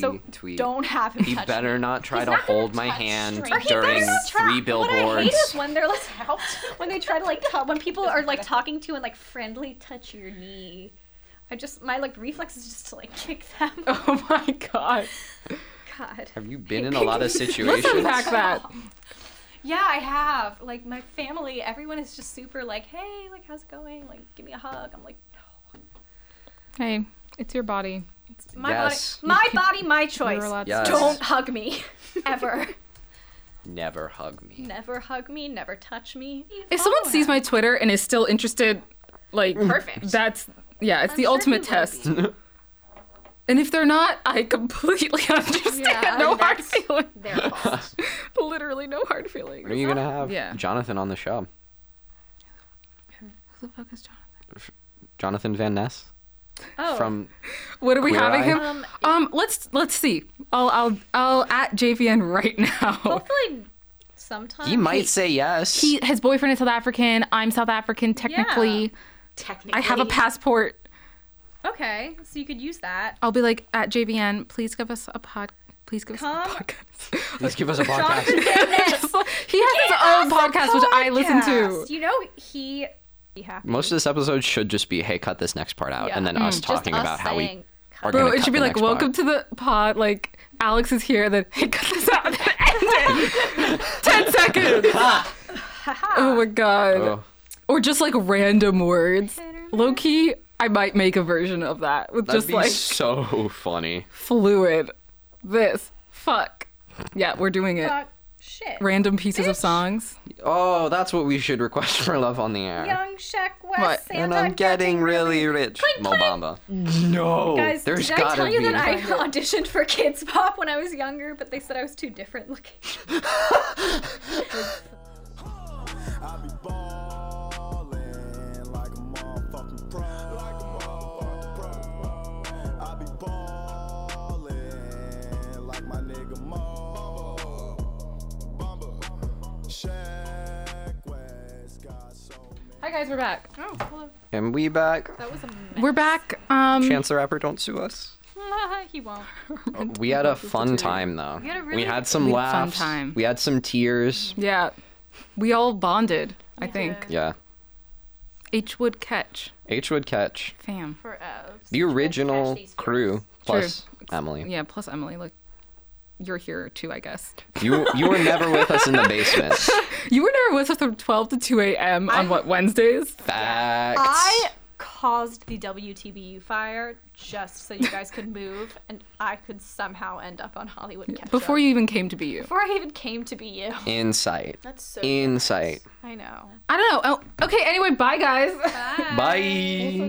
so
Retweet.
don't have him
He
touch
better
me.
not try
He's
to
not gonna
hold my
touch
hand
strangers. He better
during
not try-
three
What I hate is
billboards.
when they're like out, when they try to like tell, when people are like talking to you and like friendly touch your knee. I just my like reflex is just to like kick them.
Oh my god.
God.
Have you been in a lot of situations?
Let's unpack that.
Yeah, I have. Like my family, everyone is just super like, hey, like how's it going? Like give me a hug. I'm like,
Hey, it's your body.
it's my
Yes.
body, my body, my choice.
You're allowed to-
Yes.
Don't hug me, ever.
Never hug me.
never hug me. Never touch me. Oh,
If someone sees my Twitter and is still interested, like
Perfect.
That's yeah, it's
I'm
the
sure
ultimate
he will
test. And if they're not, I completely understand.
I
no
mean,
hard
that's-
feelings.
Their fault.
Literally no hard feelings.
When are you gonna have
Yeah.
Jonathan on the show?
Who the fuck is John?
Jonathan Van Ness
Oh,
from
What are we
Queer
having
Eye?
him? Um, let's let's see. I'll I'll I'll at JVN right now.
hopefully sometime
He might say yes.
He, his boyfriend is South African. I'm South African technically.
Technically.
I have a passport.
Okay, so you could use that.
I'll be like at JVN. Please give us a pod. Please give us
Come.
a podcast.
Let's give us a podcast.
Just like- he has his own podcast, which I listen to.
You know he. Be happy.
Most of this episode should just be, hey, cut this next part out, and then us talking
us
about how we
saying,
are
Bro,
gonna
it
cut
should be
the
like,
next
welcome
part.
to the pod. Like, Alex is here. Then hey, cut this out. and then end it. Ten seconds. oh my god.
Oh,
Or just like random words. Low key, I might make a version of that with
that'd
just
be
like
so funny.
fluid. This fuck. Yeah, we're doing it.
Fuck. Shit.
Random pieces of songs.
Oh, that's what we should request for love on the air.
Young Sheck West.
What?
Santa
and um, I'm getting really rich, Mobamba. No,
Guys,
there's
did I
gotta
tell you
be.
that I auditioned for Kids Pop when I was younger, but they said I was too different looking?
I be ballin' like a motherfucking pro. Like a motherfucking pro. I be ballin' like my nigga Mo. Bumba. Shaq West got so
Hi guys, we're back.
And we back.
We're back. Um,
Chance the Rapper, don't sue us.
he won't.
We had a fun time though. We
had a
we
really
had some
We had a fun
laughs.
time.
We had some tears.
Yeah, we all bonded. I think
Yeah.
H would catch.
H would catch
Fam.
the original
these
crew plus Emily.
Yeah. Plus Emily, like you're here too, I guess.
You you were never with us in the basement.
You were never with us from 12 to 2 a.m. on what Wednesdays?
Facts.
I caused the WTBU fire just so you guys could move and I could somehow end up on Hollywood Catch
Before you even came to be you.
before I even came to be you.
Insight. That's so Insight.
I know.
I don't know. Oh, okay. Anyway, bye guys.
Bye.